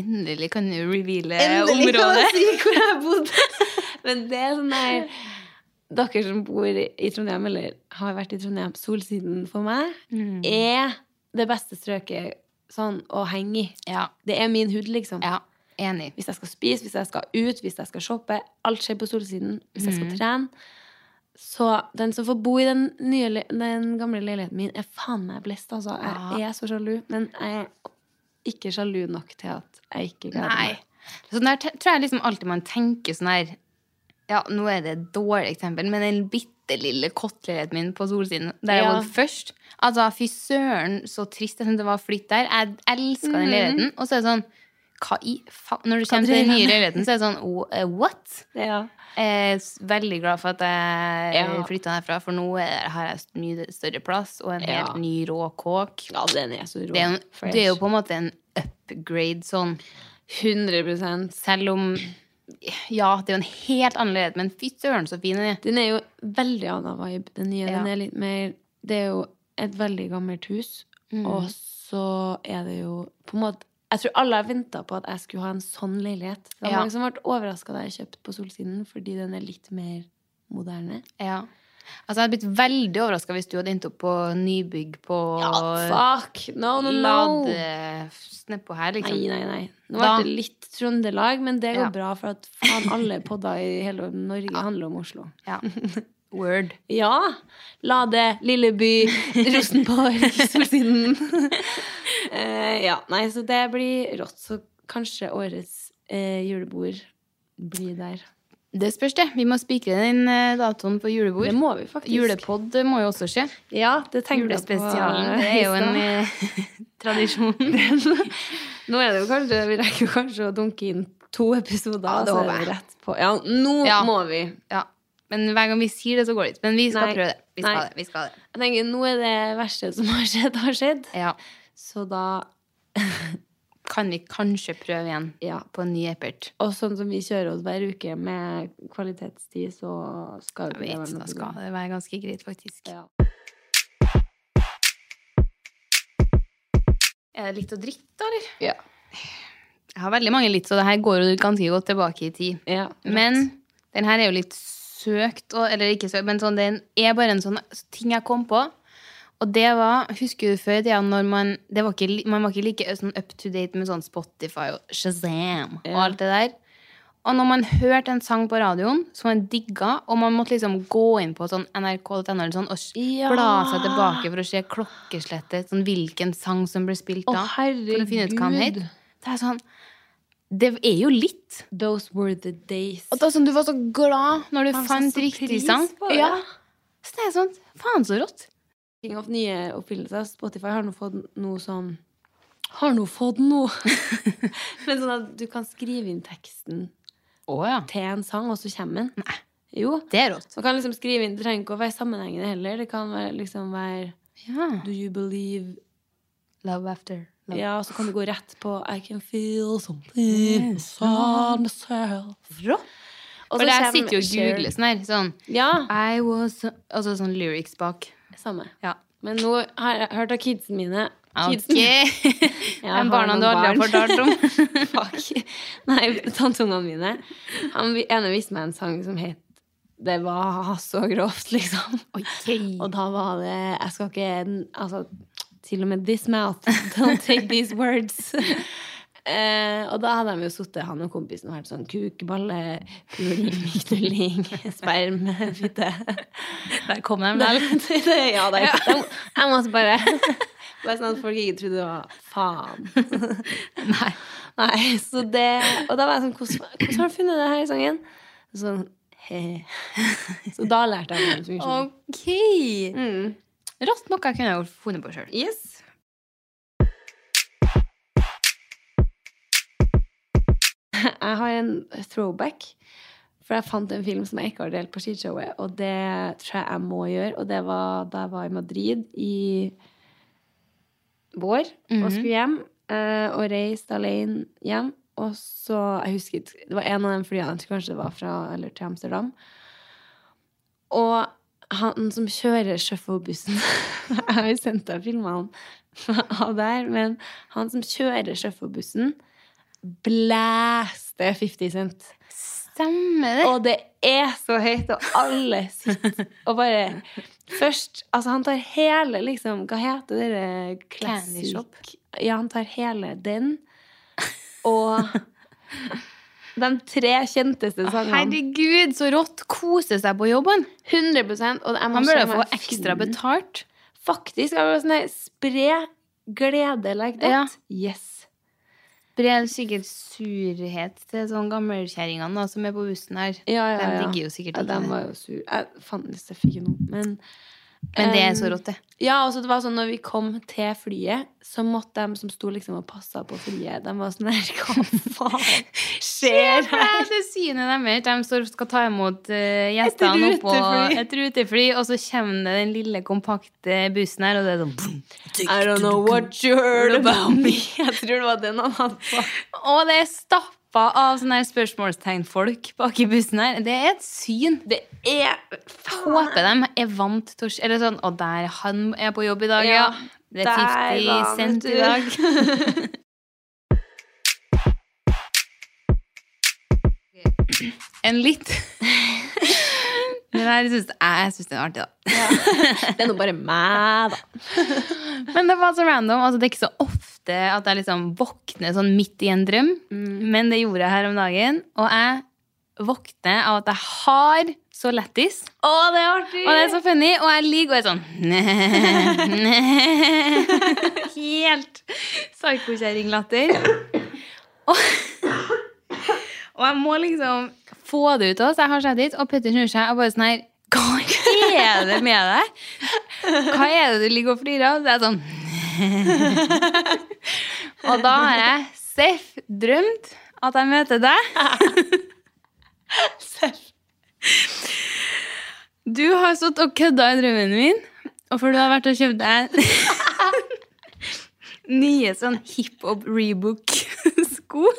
Endelig kan du reveale Endelig kan området. jeg si hvor jeg bodde! Men det er sånn der Dere som bor i Trondheim, eller har vært i Trondheim, Solsiden for meg Mm. er det beste strøket sånn å henge i. Ja, Det er min hud, liksom. ja, enig. Hvis jeg skal spise, hvis jeg skal ut, hvis jeg skal shoppe. Alt skjer på Solsiden. Hvis jeg skal trene. Så den som får bo i den, nye, le- den gamle leiligheten min, er faen meg blest, altså. Jeg er så sjalu. Men jeg er ikke sjalu nok til at jeg ikke gleder Nei. meg. Sånn der te- tror jeg liksom alltid man tenker sånn her Ja, nå er det et dårlig eksempel, men den bitte lille kotteleiligheten min på solsiden, der jeg Ja. bodde først Altså, fy søren, så trist jeg syntes det var å flytte der. Jeg elska den leiligheten. Og så er det sånn Hva i faen Når du kommer til den nye leiligheten, så er det sånn oh, eh, What? Ja. Jeg er s- veldig glad for at jeg Ja. flytta herfra, for nå er- har jeg s- mye større plass og en helt Ja. ny rå kåk. Ja, den er så rå. Det er, jo- det er jo på en måte en upgrade sånn 100 Selv om Ja, det er jo en helt annerledes, men fy søren så fin den er. Den er jo veldig annen vibe, den nye. Den Ja. er litt mer Det er jo et veldig gammelt hus, Mm. og så er det jo på en måte jeg tror alle har venta på at jeg skulle ha en sånn leilighet. Det var Ja. mange som ble overraska da jeg kjøpte på Solsiden, fordi den er litt mer moderne. Ja. Altså, jeg hadde blitt veldig overraska hvis du hadde endt opp på nybygg på fuck! No, no, no! Lade nedpå her, liksom. Nei, nei, nei. Nå ble Da- det litt Trøndelag, men det går Ja. bra, for at faen alle podder i hele Norge handler om Oslo. Ja. Word. Ja. Lade, Lilleby, Rosenborg, Solsiden. Eh, ja. Nei, så det blir rått. Så kanskje årets eh, julebord blir der. Det spørs, det. Vi må spikre den eh, datoen på julebord. Det må vi faktisk. Julepod eh, må jo også skje. Ja, det tenkte jeg på. Julespesialen. Det er jo en eh, tradisjon. Nå er det jo kanskje Vi rekker jo kanskje å dunke inn to episoder, Ja, det så håper er det jeg. rett på. Ja, nå Ja. må vi. Ja. Men hver gang vi sier det, så går det ikke. Men vi skal Nei. prøve det. Vi skal Nei. det. Vi skal det. Jeg tenker, nå er det verste som har skjedd, har skjedd. Ja. Så da Kan vi kanskje prøve igjen Ja. på en ny epert? Og sånn som vi kjører oss hver uke med kvalitetstid, så skal Jeg det være vet, noe da problem. skal det være ganske greit, faktisk. Ja. Er det litt å drikke, da, eller? Ja. Jeg har veldig mange litt, så det her går jo ganske godt tilbake i tid. Ja, men den her er jo litt søkt, og, eller ikke søkt, men sånn, den er bare en sånn ting jeg kom på. Og det var, husker du før i tida, når man det var ikke, li- Man var ikke like sånn up to date med sånn Spotify og Shazam og alt det der. Og når man hørte en sang på radioen som man digga, og man måtte liksom gå inn på sånn nrk.no eller sånn, og s- Ja. bla seg tilbake for å se klokkeslettet, sånn hvilken sang som ble spilt da. for å finne ut hva han het. herregud. Det er sånn Det er jo litt. Those were the days. Og det er sånn, Du var så glad når du Man fant satte så riktig pris sang. på det. Ja. Så det er sånn Faen, så rått. King of nye oppfyllelser. Spotify har nå fått noe sånn Har nå fått noe! Men sånn at du kan skrive inn teksten Oh, ja. til en sang, og så kommer den. Jo. Det er rått. Så man kan liksom skrive inn, Det trenger ikke å være sammenhengende heller. Det kan være, liksom være Ja. Do you believe Love after. Love. Ja, og så kan du gå rett på I can feel something inside myself. Og For så der kommer sitter jo og Cher. googler sånn her. Sånn Ja, I was Og så sånn lyrics bak. samme. Ja. Men nå har jeg hørt av kidsene mine Ok. Kidsene De har barna du noen aldri har barn. fortalt om. Fuck. Nei, tanteungene mine. Han vi- ene viste meg en sang som het Det var så grovt, liksom. Og da var det Jeg skal ikke Altså, til og med this mouth. Don't take these words. Eh, og da hadde de jo sittet, han og kompisen, og vært sånn kukballe, puling, knulling, sperm, fitte. Der kom de Der, vel. det, det, ja, der, de, jeg måtte bare Bare sånn at folk ikke trodde det var faen. Nei. Nei, så det Og da var jeg sånn Hvordan, hvordan har du funnet det her i sangen? Sånn he. Så da lærte jeg den funksjonen. OK! Mm. Rått noe jeg kunne ha gjort- funnet på sjøl. Yes. Jeg har en throwback. For jeg fant en film som jeg ikke har delt på skishowet. Og det tror jeg jeg må gjøre. Og det var da jeg var i Madrid i vår og skulle hjem. eh, Og reiste alene hjem. Og så Jeg husker ikke- Det var en av de flyene jeg tror kanskje det var fra eller til Amsterdam. Og han som kjører sjåførbussen Jeg har jo sendt deg filmene av der, men han som kjører sjåførbussen, blæster 50 Cent. Stemmer det. Og det er så høyt, og alle sitter og bare Først Altså, han tar hele, liksom Hva heter det? Candy shop. Ja, han tar hele den. Og de tre kjenteste sangene. Herregud, så rått! Kose seg på jobben. 100 og jeg må Han burde se om få jeg ekstra finner- betalt. Faktisk. Jeg var sånn her, Spre glede like that. Yes. Brer sikkert surhet til sånne gammelkjerringene da, som er på bussen her. Ja, ja, De ja. digger jo sikkert ja, ikke de det. var jo sur. Jeg fant ikke fikk ikke noe. Men, Men det er em, så rått, det. Ja, altså det var sånn når vi kom til flyet, så måtte de som sto liksom og passa på flyet, de var sånn her Hva faen skjer Det her? er det synet deres. De står- skal ta imot eh, gjestene Et oppå rutefly. et rutefly, og så kommer det den lille, kompakte bussen her, og det er sånn boom. I don't know what you heard about me. Jeg tror det var den han hadde på. Og det er stappa av sånne her spørsmålstegnfolk bak i bussen her. Det er et syn. Det er faen. Håper de er vant til å s- Eller sånn Å, der han er på jobb i dag, ja. Ja, Det der er 50 var han, cent vet i du. dag. En litt Men jeg syns jeg synes den er artig, da. Det er nå bare meg, da. Men det var så random. Altså, det er ikke så ofte at jeg liksom våkner sånn midt i en drøm. Mm. Men det gjorde jeg her om dagen. Og jeg våkner av at jeg har så lættis. Å, det er artig! Og det er så funny. Og jeg ligger og er sånn Helt psykokjerringlatter. Og, og jeg må liksom få det ut av oss. Jeg har sett dit, og Petter snur seg og bare sånn her Hva er det med deg? Hva er det du ligger og flirer av? Så jeg er sånn Og da har jeg seff drømt at jeg møter deg. Du har stått og kødda i drømmen min, og for du har vært og kjøpt deg nye sånn hiphop rebook-sko.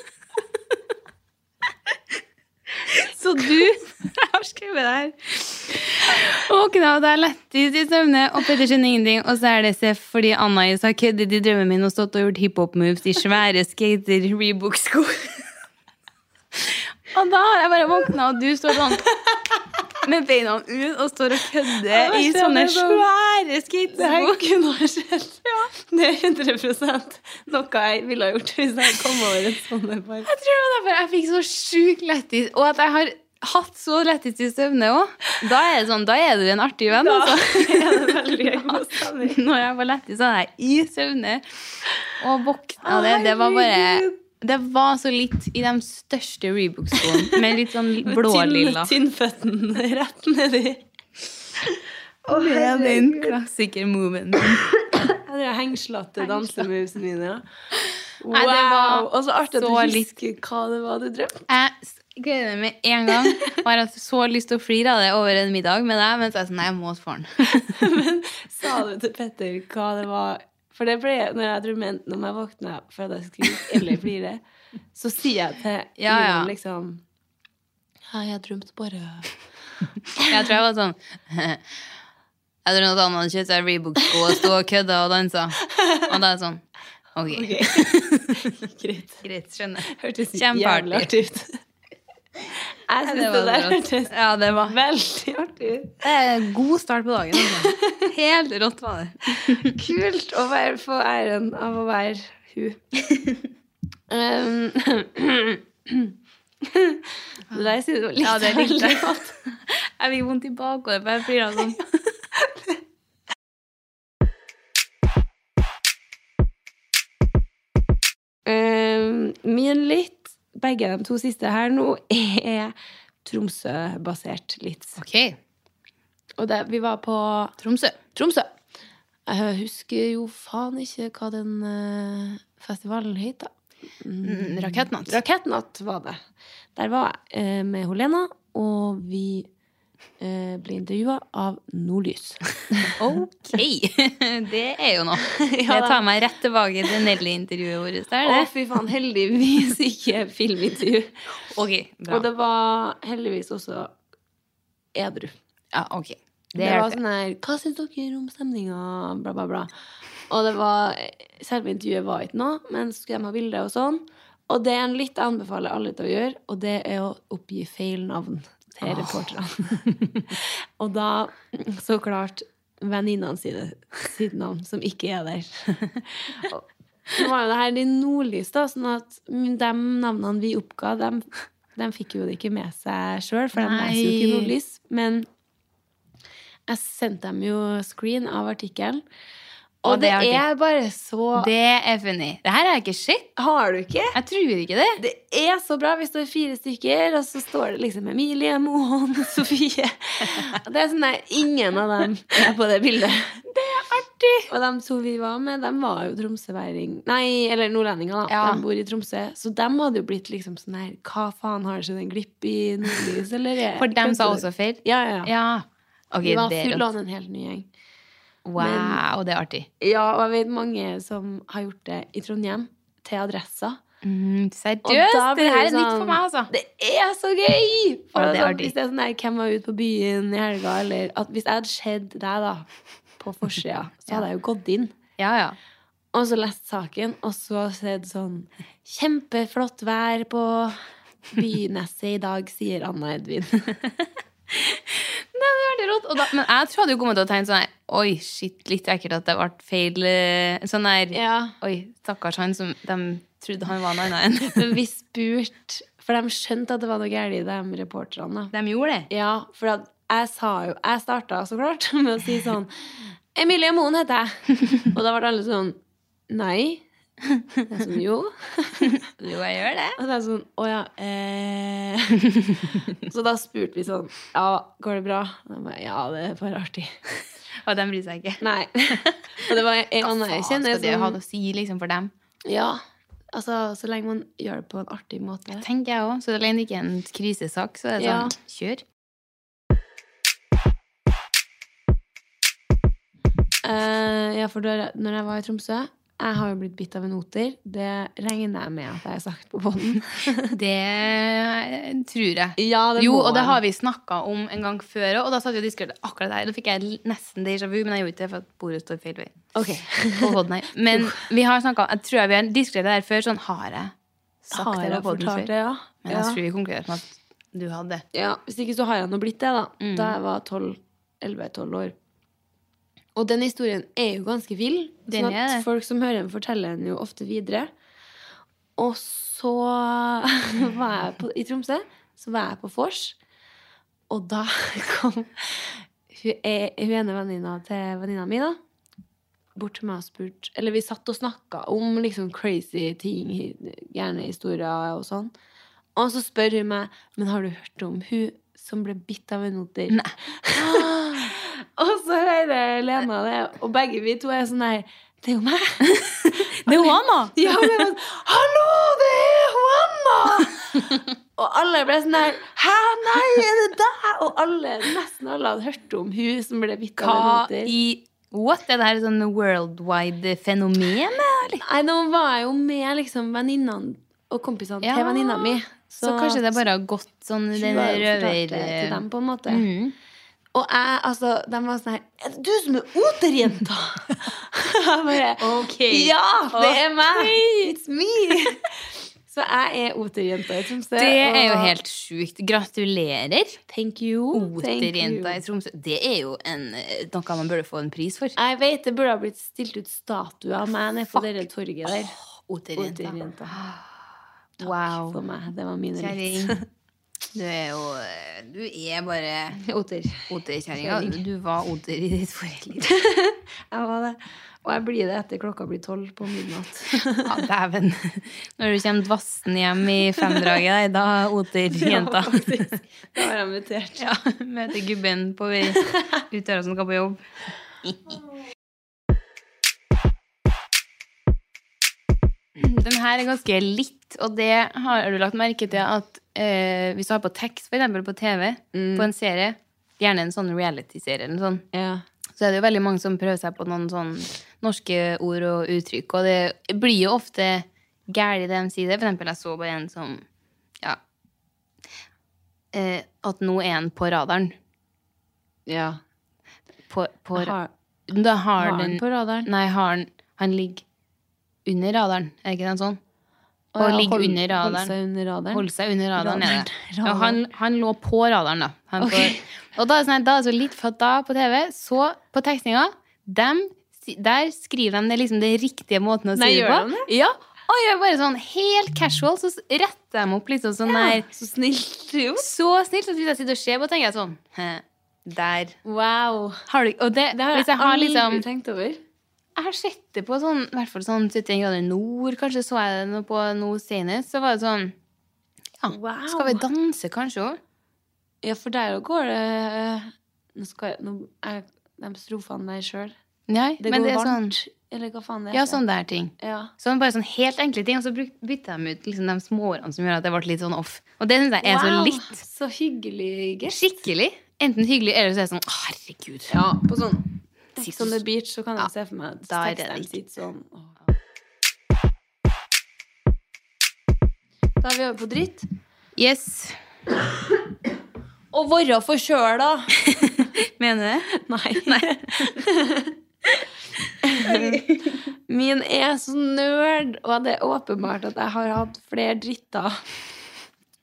Så du Jeg har skrevet det her. Våkna av deg lættis i søvne, og Petter skjønner ingenting, og så er det Seff fordi Anna-Is har køddet i drømmen min og stått og gjort hiphop-moves i svære skater-rebook-sko. Og da har jeg bare våkna, og du står sånn med beina ut og står og kødder i sånne svære sånn- Det her skatesko. kunne ha skjedd. Det er 100 noe jeg ville ha gjort hvis jeg kom over en sånn en Jeg tror det var derfor jeg fikk så sjukt lættis, og at jeg har hatt så lættis i søvne òg. Da er det sånn, da er du en artig venn, altså. Når jeg var lættis, så hadde jeg i søvne og våkna det. Det var bare det var så litt i de største Rebook-skoene, med litt sånn blålilla. Tynnføtten rett nedi. Og Det er den klassiker-moven. Jeg drev hengslete dansemovesene mine. ja. Wow! Nei, det var og så artig at du så husker hva det var du drømte. Jeg s- gleder meg med en gang. Og har hatt så lyst til å flire av det over en middag med deg. Men så er jeg sånn, nei, jeg må få den. Sa du til Petter hva det var? For det ble når jeg drømmer enten om jeg våkner for at jeg skriver eller flire, så sier jeg til Ja, ja. Ivan liksom Ja, jeg drømte bare Jeg tror jeg var sånn Jeg tror noen andre hadde kjøpt seg Reebok-sko og sto og kødda og dansa. Og da er det sånn Ok, Greit. greit, skjønner. Hørtes jævlig Kjempeartig. artig ut. Jeg Det syns det, var der rått. hørtes Ja, det var veldig artig ut. det er en God start på dagen. Altså. Helt rått var det. Kult å være, få æren av å være hun. Um, det der sier du litt Ja, det likte veldig jeg. godt. Jeg fikk vondt i bakhodet, for jeg flirer av sånn. Um, min litt, begge de to siste her nå, er Tromsø-basert litt. Ok, Og det, vi var på Tromsø. Tromsø. Jeg husker jo faen ikke hva den eh, festivalen het, da. Mm, Rakettnatt. Rakettnatt var det. Der var jeg eh, med Helena, og vi eh, ble intervjua av Nordlys. Ok, det er jo noe. Ja, Jeg da. tar meg rett tilbake til Nelly-intervjuet vårt der. Å, det. fy faen, heldigvis ikke filmintervju. Ok, bra. Og det var heldigvis også edru. Ja, ok. Det, Det er var det. sånn her Hva syns dere om stemninga? Bla, bla, bla. Og det var Selve intervjuet var ikke noe, men så skulle de ha bilder og sånn. Og det er en litt jeg anbefaler alle til å gjøre, og det er å oppgi feil navn til reporterne. og da, så klart, venninnene sine sitt navn, som ikke er der. Og Nå var jo det her i nordlys, da, sånn at de navnene vi oppga, de, de fikk jo det ikke med seg sjøl, for de leser jo ikke Nei. nordlys. Men jeg sendte dem jo screen av artikkelen. Og Og, det det, er artig. er bare så Det er funny. Det her har jeg ikke sett. Har du ikke? Jeg tror ikke det. Det er så bra. Vi står fire stykker, og så står det liksom Emilie, Moen, Sofie Og Det er sånn der, Ingen av dem er på det bildet. Det er artig! Og de to vi var med, de var jo tromsøværing Nei, eller nordlendinger, da. Ja. De bor i Tromsø. Så de hadde jo blitt liksom sånn her Hva faen, har ikke den glipp i nordlys, eller er- For dem sa også feil. Ja, ja. ja. Ja. Ok, vi var det er full rått. on en helt ny gjeng. Wow, det er artig. Ja, og jeg vet mange som har gjort det i Trondheim, til adressa. Mm, Og da seriøst, blir det her er sånn- nytt for meg, altså. Det er så gøy! For Ja, det det er er sånn, artig. hvis det er sånn der, hvem var ute på byen i helga, eller at hvis jeg hadde sett deg, da, på forsida, så hadde jeg jo gått inn. Ja, ja. Og så lest saken, og så sett sånn Kjempeflott vær på Byneset i dag, sier Anna Edvin. Nei, det var veldig rått. Og da, men jeg tror jeg hadde jo kommet til å tenke sånn her, Oi, shit, litt ekkelt at det ble feil eh, Sånn her Ja. Oi, stakkars han som de trodde han var noe annet enn Men vi spurte, for de skjønte at det var noe galt i de reporterne. da. De gjorde det. Ja, for at jeg sa jo Jeg starta så klart med å si sånn Emilie Moen heter jeg. Og da ble alle sånn Nei. Jeg er sånn, jo. Jo, jeg gjør det. Og det er sånn Å ja. Eh. Så da spurte vi sånn Ja, går det bra? Og de bare, ja, det er bare artig. Og de bryr seg ikke. Nei. Og det var en annen jeg Faen, kjenner. skal det ha Sånn, noe å si liksom, for dem? ja. Altså, så lenge man gjør det på en artig måte. Tenker jeg også. Så lenge det ikke er en krisesak, så er det Ja. sånn Kjør. Eh, ja, for da, når jeg var i Tromsø Jeg har jo blitt bitt av en oter. Det regner jeg med at jeg har sagt på båten. Det eh, tror jeg. ja, jo, og det har vi snakka om en gang før òg, og da satt vi og diskuterte akkurat det her. Da fikk jeg l- nesten déjà vu, men jeg gjorde ikke det, for at bordet står feil vei. På podden her. Men vi har snakket, jeg tror jeg vi har diskutert det her før. Sånn har jeg sagt Har det jeg på podden fortalt før? det, ja? Men jeg ja. tror vi konkluderte med at du hadde det. ja. Hvis ikke så har jeg nå blitt det, da. Mm. Da jeg var 12 11-12 år. Og den historien er jo ganske vill. Den sånn er at det. folk som hører den, forteller den jo ofte videre. Og så var jeg på, i Tromsø. Så var jeg på vors. Og da kom hun, eh, hun ene venninna til venninna mi, da. bort til meg og spurt Eller vi satt og snakka om liksom crazy ting, gjerne historier og sånn. Og så spør hun meg Men har du hørt om hun som ble bitt av en oter. og så hører Lena det, og begge vi to er sånn her Det er jo meg! Det er jo han, da! Ja, og Lena sånn, Hallo, det er Juanna! og alle ble sånn her Hæ, nei, er det deg? Og alle, nesten alle hadde hørt om hun som ble bitt av en Hva oter. i What? Er det her sånn worldwide fenomen? Eller? Nei, nå var jeg jo med liksom venninnene og kompisene Ja. til venninna mi. Så, kanskje det bare har gått sånn så den hun har jo fortalt røver... det til dem, på en måte. Mm. Og jeg, altså, de var sånn her Er det du som er oterjenta? jeg bare Ok. Ja, det er meg! It's me! Så jeg er oterjenta i Tromsø. Det er jo og- helt sjukt. Gratulerer, Thank you. thank oterjenta you. i Tromsø. Det er jo en, eh, noe man burde få en pris for. Jeg vet det burde ha blitt stilt ut statuer av meg nede på det der torget der. Oterjenta. Oterjenta. Takk Wow. for meg. Det var mine Kjerring. litt. Du er jo eh, Du er bare Otter. oterkjerringa. Kjerring. Du var oter i ditt forrige liv. Jeg var det. Og jeg blir det etter klokka blir tolv på midnatt. Ja, Dæven. Når du kommer dvassen hjem i femdraget, da er Ja, oterjenta. faktisk. Da har jeg mutert. Ja, møter gubben på vei ut døra som skal på jobb. Den her er ganske litt, og det har du lagt merke til at eh, hvis du har på tekst, for eksempel på TV, på en serie, gjerne en sånn reality-serie eller noe sånt, Ja. så er det jo veldig mange som prøver seg på noen sånn norske ord og uttrykk, og det blir jo ofte gærlig det de sier. For eksempel, jeg så bare en som, ja, eh, at nå er han på radaren. ja. På, på, Jeg har- da har, har han den, på radaren? Nei, har han, han ligger under radaren. Er det ikke den sånn? Å Og ja, ligger hold- under radaren. Hold seg under radaren. Holde seg under radaren. er det. Radaren. Ja, han, han lå på radaren, da. Han Ok. på, og da er det sånn, da er det så litt for at da på TV, så på tekstninga, dem, si- der skriver de det liksom den riktige måten å si Nei, det gjør på. de Ja, og jeg er bare sånn helt casual, så s- retter de opp liksom sånn der. Så snilt gjort. Så snilt at hvis jeg sitter og ser på, tenker jeg sånn «Hæ, Der. Wow. Har du, og det, har hvis jeg har liksom aldri tenkt over. jeg har sett det på sånn, i hvert fall sånn 71 grader nord, kanskje så jeg det nå på noe senest, så var det sånn, ja, Wow. skal vi danse kanskje også? Ja, for der òg går det Nå skal jeg, nå er de strofene der sjøl. Nei, Det men går det er sånn, varmt. Eller hva faen det ja, sånn der ting. Ja. Sånn bare sånn helt enkle ting, og så bruk- bytter de ut liksom de småordene som gjør at det ble litt sånn off. Og det synes jeg er så Wow, litt Så hyggelig gest. skikkelig, enten hyggelig, eller så er det sånn, «Å, herregud. Ja, på sånn Sitt- Sånn The Beach, så kan jeg Ja, se for meg at da er det teksteren riktig. sitter sånn. åh. Da er vi over på dritt. Yes, Å være forkjøla! mener du det? Nei. Min er så nerd, og det er åpenbart at jeg har hatt flere dritter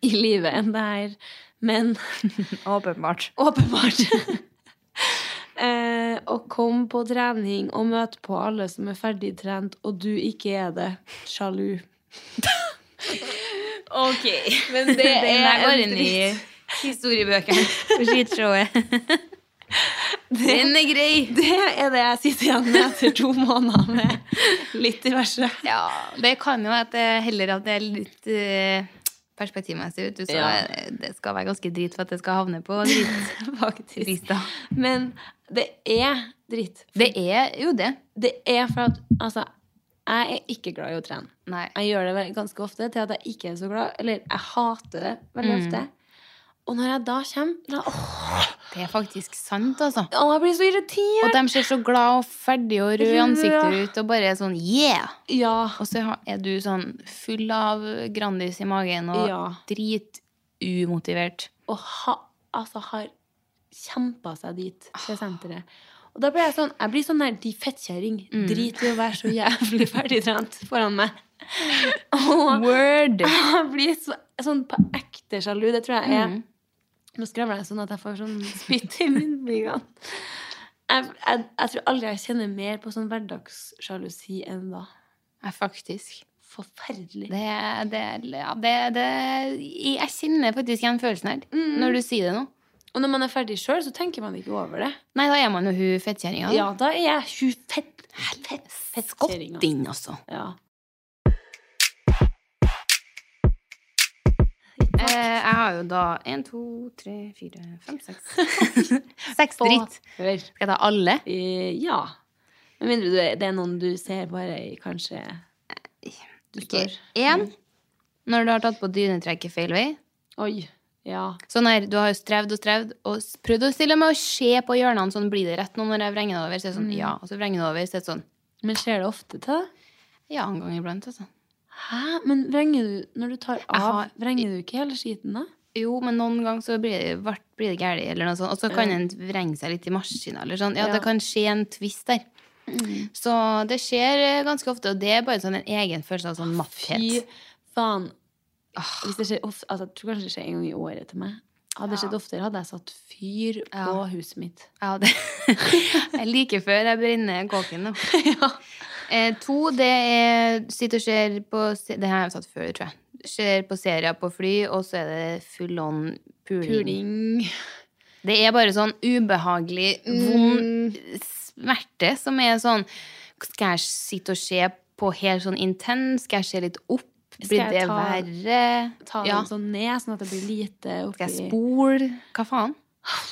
i livet enn det her. Men Åpenbart. åpenbart. Eh, å komme på trening og møte på alle som er ferdigtrent, og du ikke er det. Sjalu. Ok. Men det Den der er går en inn i dritt. historiebøkene på skitshowet. Den er grei. Det er det jeg sitter igjen med etter to måneder med litt diverse. Ja, det kan jo at det heller at det er litt eh, perspektivmessig ut. Så Ja. det skal være ganske drit for at det skal havne på dritt. Faktisk. Lista. Men det er dritt. Det er jo det. Det er for at Altså, jeg er ikke glad i å trene. Nei. Jeg gjør det vel- ganske ofte til at jeg ikke er så glad. Eller jeg hater det veldig ofte. Og når jeg da kommer da, åh, Det er faktisk sant, altså. åh, Jeg blir så irritert! Og de ser så glad og ferdig og røde i ansiktet Ja. ut og bare er sånn yeah! Ja. Og så ha- er du sånn full av Grandis i magen og Ja. dritumotivert. Og ha, altså har kjempa seg dit Ah. til senteret. Og da blir jeg sånn Jeg blir sånn der de fettkjerring. Mm. Drit i å være så jævlig ferdigtrent foran meg. Og Word! jeg blir så, sånn på ekte sjalu. Det tror jeg Mm. er Nå skravler jeg sånn at jeg får sånn spytt i munnbingene. Jeg, jeg, jeg tror aldri jeg kjenner mer på sånn hverdagssjalusi enn da. Ja, faktisk. Forferdelig. Det, det, ja, det, det Jeg kjenner faktisk igjen følelsen her Mm. når du sier det nå. Og når man er ferdig sjøl, så tenker man ikke over det. Nei, da er man jo hun fettkjerringa. Ja, da er jeg tju fett, fett, fettkjerringa. Godt inn, altså. Ja. Eh, jeg har jo da én, to, tre, fire, fem, seks. seks dritt. Hør. Skal jeg ta alle? Eh, Ja. Med mindre du, det er noen du ser bare i kanskje Du står Én. Når du har tatt på dynetrekket feil vei. Oi. Ja. Sånn her, Du har jo strevd og strevd og s- prøvd å stille meg og se på hjørnene. sånn, Blir det rett nå når jeg vrenger det over? Så er det Mm. sånn, ja, Og så vrenger det over, så er det sånn Men skjer det ofte til deg? Ja, en gang iblant, altså. Hæ? Men vrenger du Når du tar av, har- vrenger du ikke hele skiten da? Jo, men noen ganger så blir det, vart- blir det gærlig, eller noe sånt. Og så kan en vrenge seg litt i maskina, eller sånn. Ja, Mm. det kan skje en twist der. Så det skjer eh, ganske ofte, og det er bare sånn en egen følelse av sånn Fy Ah. matthet. faen. Hvis det skjer ofte, altså, jeg tror kanskje det skjer en gang i året til meg. Hadde det skjedd oftere, hadde jeg satt fyr på huset mitt. Ja, det Jeg liker før jeg brenner kåken nå. Eh, to, det er sitter og ser på se- Det her har jeg sagt før, tror jeg. ser på serier på fly, og så er det full on puling. Puling. Det er bare sånn ubehagelig, vond Mm. smerte som er sånn Skal jeg sitte og se på helt sånn intens? Skal jeg se litt opp? Blir jeg det ta- verre? Ta Ja. den sånn ned, sånn at det blir lite oppi Skal jeg spole? Hva faen?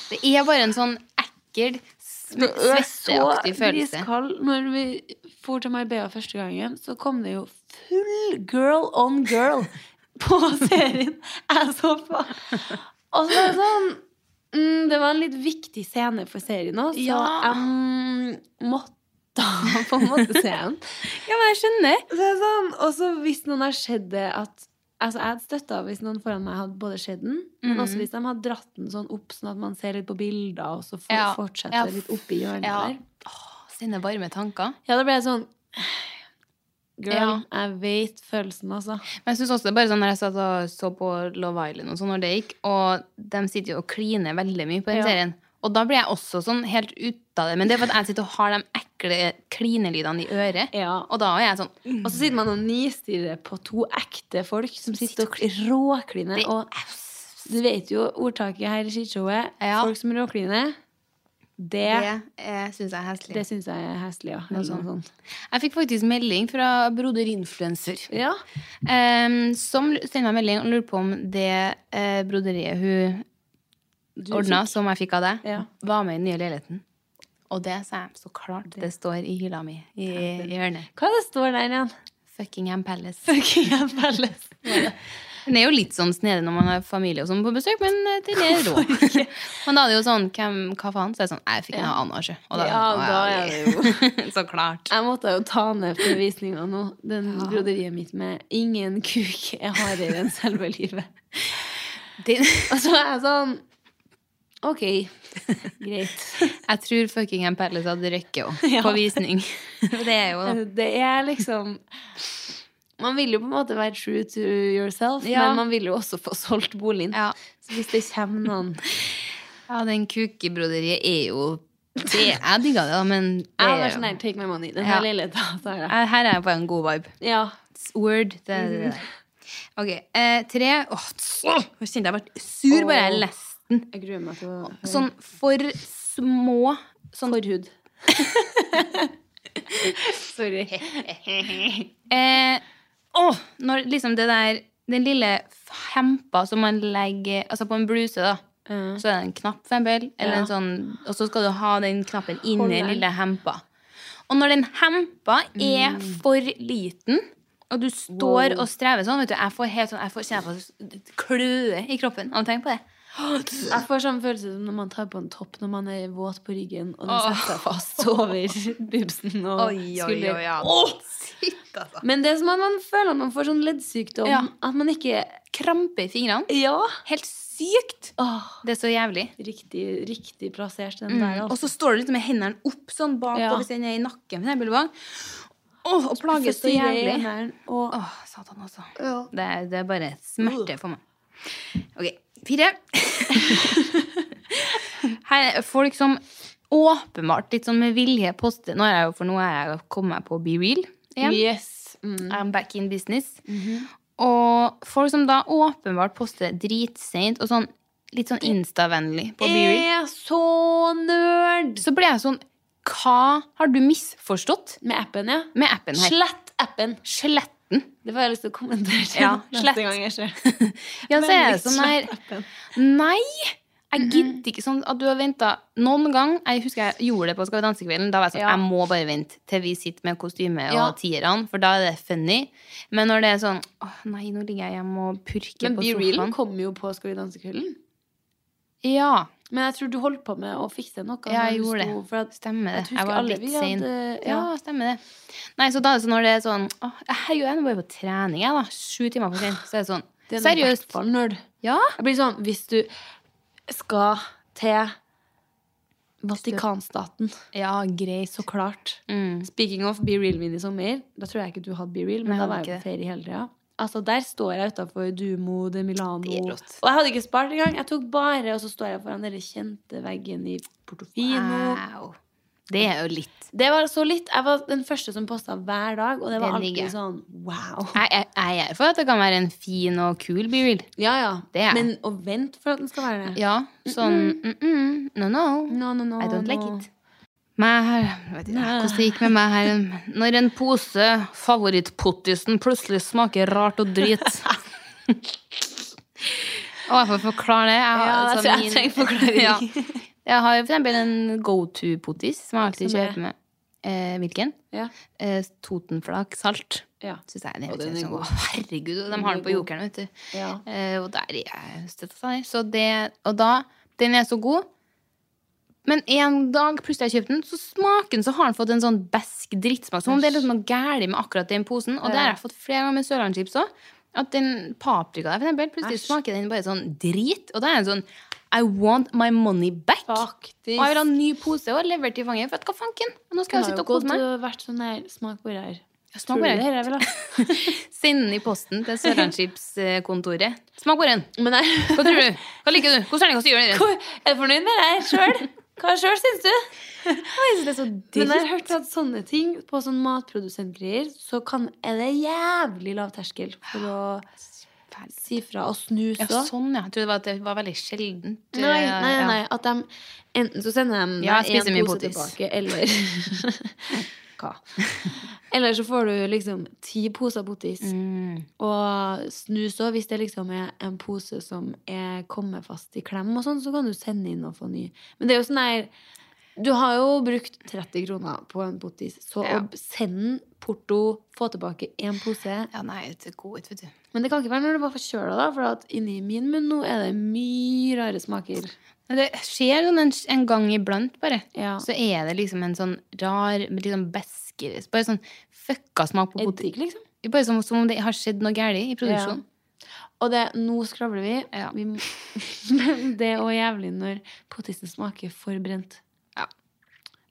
Det er bare en sånn ekkel, sm- Det er svetteaktig følelse. iskald. Når vi for til Marbella første gangen, så kom det jo full girl on girl på serien jeg så på. Og så var det sånn mm, Det var en litt viktig scene for serien òg, så Ja. jeg måtte på en måte se den. Ja, men jeg skjønner. Så det er sånn, og så hvis noen har sett det at Altså, jeg hadde støtta hvis noen foran meg hadde både sett den, men Mhm. også hvis de hadde dratt den sånn opp, sånn at man ser litt på bilder, og så for, Ja. fortsetter Ja, det litt opp i hjørnet Ja. der. Åh, Sine varme tanker. Ja, da ble jeg sånn Girl, Ja. jeg vet følelsen, altså. Men jeg synes også det er bare sånn når jeg satt og så på Love Island og sånn når det gikk, og de sitter jo og kliner veldig mye på den Ja. serien. Og da blir jeg også sånn helt ute av det. Men det er for at jeg sitter og har de ekle klinelydene i øret. Ja. Og da er jeg sånn Og så sitter man og nistirrer på to ekte folk som sitter og råkliner. Og du vet jo ordtaket her i skishowet. Ja. Folk som råkliner, det, Det eh, syns jeg er heslig. det syns jeg er heslig. Ja. Mm. Eller noe sånt. Jeg fikk faktisk melding fra broder influencer. Ja. Em, Ehm, som l- sender meg melding og lurer på om det eh, broderiet hun ordna, som jeg fikk av deg, Ja. var med i den nye leiligheten. Og det sa jeg så klart det står i hylla mi i, i hjørnet. Hva er det står der igjen? Fuckingham Palace. Buckingham Palace. Den er jo litt sånn snedig når man har familie og sånn på besøk, men eh, den er rå. men da er det jo sånn hvem, Hva faen? Så er det sånn Jeg fikk den av Anna, sjø. Og Ja, da er det jo Så klart. Jeg måtte jo ta ned forvisninga nå. Den broderiet mitt med 'ingen kuk er hardere enn selve livet'. Og så er jeg sånn OK, greit. jeg tror Fuckingham Palace hadde røkket òg, Ja. på visning. det er jo Det er liksom Man vil jo på en måte være true to yourself, Ja. men man vil jo også få solgt boligen. Ja. Så hvis det kommer noen Ja, den kukebroderiet er jo det, Jeg digga det, da, men det Jeg er var jo- sånn her, take my money. Den Ja. her lille ta, tar jeg. Eh, Her er jeg på en god vibe. Ja. Mm. It's Word. Det, er det, der. Ok, eh, tre Åh, tss, åh, nå kjente jeg ble sur bare jeg leste den. Jeg gruer meg til å høre. Sånn for små sånn, Forhud. Sorry. eh, åh, Når liksom det der Den lille hempa som man legger Altså på en bluse, da. Så er det en knapp for eksempel, eller en sånn, og så skal du ha den knappen inni den lille hempa. Og når den hempa er Mm. for liten, og du står og strever sånn vet du, Jeg får helt sånn, jeg får kjenne på kløe i kroppen av å tenke på det. Jeg får sånn følelse som når man tar på en topp når man er våt på ryggen, og den setter seg fast over bubsen og skulder. Men det er som at man føler at man får sånn leddsykdom. Ja. At man ikke Krampe i fingrene. Ja! Helt sykt! Åh, Det er så jævlig. riktig, riktig plassert, den der. Og Altså. så står du liksom med hendene opp sånn Ja. bakover, hvis den er i nakken. For eksempel, bak. Åh, og plages så jævlig. Og Åh, satan altså. Det, er- det er bare smerte for meg. Ok, fire. Her er folk som åpenbart litt sånn med vilje poster Nå er jeg jo for nå er jeg kommet meg på Be Real igjen. Yes. I'm back in business. Og folk som da åpenbart poster dritseint og sånn litt sånn instavennlig på Be Real. er så nerd! Så ble jeg sånn Hva har du misforstått Med appen, ja. med appen her? Slett appen. Slett den. Det får jeg lyst til å kommentere til Ja, slett. neste gang jeg ser. Ja, så er det Vennligst sånn her slett appen. Nei! Jeg gidder ikke sånn at du har venta noen gang. Jeg husker jeg gjorde det på Skal vi danse-kvelden. Da var jeg sånn Ja. Jeg må bare vente til vi sitter med kostyme og Ja. tierne, for da er det funny. Men når det er sånn Åh, nei, nå ligger jeg hjemme og purker Men på Be Real sofaen. kommer jo på Skal vi danse kvelden. Ja. Men jeg tror du holdt på med å fikse noe. Ja, jeg når du gjorde det. sto- For at, Stemmer det. Jeg husker Jeg var alle litt vi sein. hadde- Ja, ja. stemmer det. Nei, så da er det sånn når det er sånn Åh, herregud, jeg er nå bare på trening, jeg, da. Sju timer for sent. Så er det sånn det er noe i hvert Seriøst. fall nerd. Ja. Jeg blir sånn Hvis du skal til Vatikanstaten, Ja, greit. så klart. Mm. Speaking of Be Real min i sommer, da tror jeg ikke du hadde Be Real, Nei, men jeg da hadde var jeg ikke på ferie hele tida. Altså, der står jeg utafor Dumo de Milano. Det er Og rått. jeg hadde ikke spart engang. Jeg tok bare, og så står jeg foran den kjente veggen i Portofino. Wow. Det er jo litt Det var så litt. Jeg var den første som posta hver dag, og det var Det digger jeg. alltid sånn wow. Jeg, jeg, jeg er for at det kan være en fin og kul be-real. Ja, ja. Det er- Men å vente for at den skal være det. Ja, sånn mm -mm, No, no. No, no, no, I don't like no. it. Meg her, jeg vet ikke hvordan det gikk med meg her. Når en pose favorittpottisen plutselig smaker rart og drit. Og jeg får forklare det. Jeg har, Ja, jeg altså, tror jeg min- trenger forklaring. Ja. Jeg har for eksempel en go-to-pottis som jeg alltid Som er- kjøper med. Eh, hvilken? Ja. Eh, Totenflak salt. Ja. Synes jeg, det Og høres den helt er sånn, god. «Å, herregud, og de har den på jokeren, vet du. Ja. Eh, og der er jeg støtta seg. Så det, og da, den er så god. Men en dag plutselig har jeg kjøpt den, så smaker den, så har den fått en sånn besk drittsmak. Som om det er liksom noe gærlig med akkurat den posen. Og det har jeg fått flere ganger med Sørlandschips òg. At den paprika der, for eksempel, plutselig smaker den bare sånn drit. Og da er den sånn I want my money back. Faktisk. Og jeg vil ha en ny pose og levert i fanget. For at hva fanken? Nå skal Den jeg sitte har jo og kose gått meg. og vært sånn der smak på det her. smak Tror på du det. her er vel, da? Send den i posten til Sørlandsskipskontoret. Smak på den. Men jeg, Hva tror du? Hva liker du? Hvilken terningkast gir du Hvor- den? er du fornøyd med det her sjøl? Hva sjøl syns du? Det er så Men jeg har hørt at sånne ting på sånn matprodusentgreier, så kan, er det jævlig lav terskel for å si fra og snuse Ah, Ja, òg. sånn, ja. Jeg trodde det var, at det var veldig sjeldent. Nei, eh, nei, ja. nei. At de, enten så sender de Ja, deg spiser en mye pose potis. tilbake, eller Hva? Eller så får du liksom ti poser potis. Mm. Og snus òg, hvis det liksom er en pose som er kommet fast i klem, og sånn, så kan du sende inn og få ny. Men det er jo sånn der Du har jo brukt 30 kroner på en potis, så Ja. å sende den, porto, få tilbake én pose Ja, nei, det er god ut, vet du. Men det kan ikke være når du var forkjøla, da, for at inni min munn nå er det mye rare smaker. Men Det skjer sånn en, en gang iblant, bare. Ja. Så er det liksom en sånn rar, liksom beskere Bare sånn fucka smak på potet. Eddik, liksom. Bare som, som om det har skjedd noe galt i produksjonen. Og det, nå skravler vi. Ja. vi må- Men det er òg jævlig når potisen smaker for brent. Ja.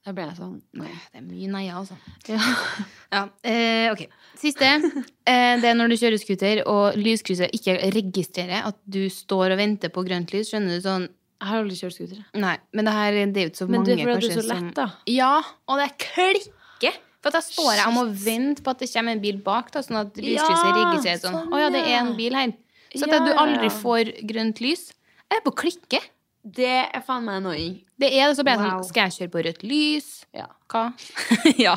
Da blir jeg sånn nei. Det er mye nei, altså. Ja. Ja, eh, ok. Siste. Eh, det er når du kjører scooter og lyskrysset ikke registrerer at du står og venter på grønt lys. Skjønner du sånn Jeg har aldri kjørt scooter. jeg. Nei, men det her det er jo ikke så Men mange det er fordi at du er kanskje, så lett, som- da. Ja, og det klikker. For at da står jeg og må vente på at det kommer en bil bak, da, sånn at lyskrysset Ja, registrerer sånn. sånn, Å ja, det er ja. en bil her. Så at Ja, du ja, aldri ja. får grønt lys. Jeg er på klikke. Det er faen meg annoying. Det er det, så blir jeg Wow. sånn Skal jeg kjøre på rødt lys? Ja. Hva? ja.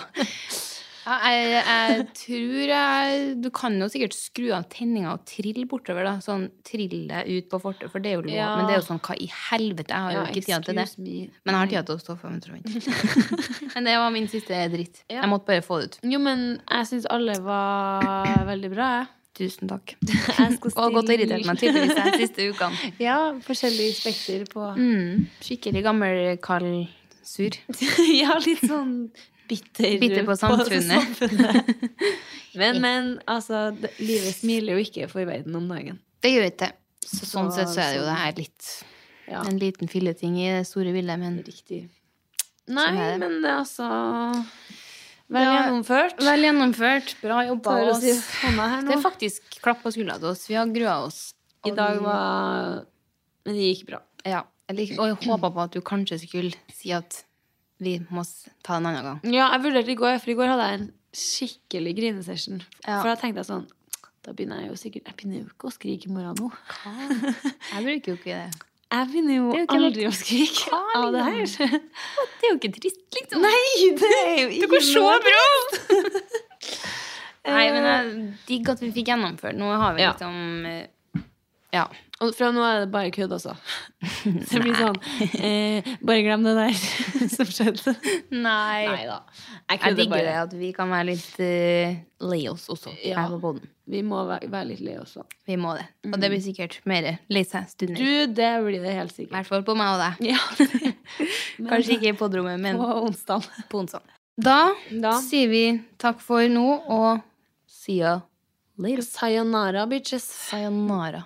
Ja, Jeg, jeg tror jeg Du kan jo sikkert skru av tenninga og trille bortover, da. Sånn trill deg ut på fortet, for det er jo lov. Ja. Men det er jo sånn, hva i helvete? Jeg har jo Ja, ikke tida til det. excuse me. Men jeg har tida til å stå for meg, tror jeg. Men det var min siste dritt. Ja. Jeg måtte bare få det ut. Jo, men jeg syns alle var veldig bra, jeg. Tusen takk. Jeg skal Og godt å stille- irritere meg tydeligvis de siste ukene. Ja, forskjellige spekter på Mm. Skikkelig gammel Karl Sur. Ja, litt sånn bitter Bitter på samfunnet. samfunnet. Men, men altså, det- livet smiler jo ikke for verden om dagen. Det gjør ikke det. Så, sånn Så- sett så er det jo det her litt Ja. En liten filleting i det store bildet, men Riktig. Sånn er Nei, det. men det er altså Vel Ja. gjennomført. Vel gjennomført. Bra jobba. Tar oss. oss i hånda sånn her Det nå. er faktisk klapp på skuldra til oss. Vi har grua oss. I dag var Men det gikk bra. Ja. Jeg lik- og jeg håpa på at du kanskje skulle si at vi må s- ta det en annen gang. Ja, jeg vurderte i går, for i går hadde jeg en skikkelig grinesession. Ja. For da tenkte jeg sånn Da begynner jeg jo sikkert Jeg begynner jo ikke å skrike i morgen nå. Jeg bruker jo ikke det. Jeg begynner jo, Det er jo ikke aldri å skrike Hva, av det her. Det er jo ikke trist, liksom. Nei, det er jo ikke noe. Nei, men jeg digger at vi fikk gjennomført. Nå har vi Ja. liksom eh, Ja. Og fra nå er det bare kødd, altså. Så det blir sånn eh, Bare glem det der som skjedde. Nei. Nei da. Jeg digger det at vi kan være litt eh, lei oss også Ja. her på båten. Vi må være, være litt lei også. Vi må det. Og det blir sikkert mer lei seg-stunder. Mm. Du, det blir det helt I sikkert. hvert fall på meg og deg. Ja, Kanskje ikke i podrommet, men på onsdag. på onsdag. Da, Da. sier vi takk for nå, og see you later. Sayonara, bitches. Sayonara.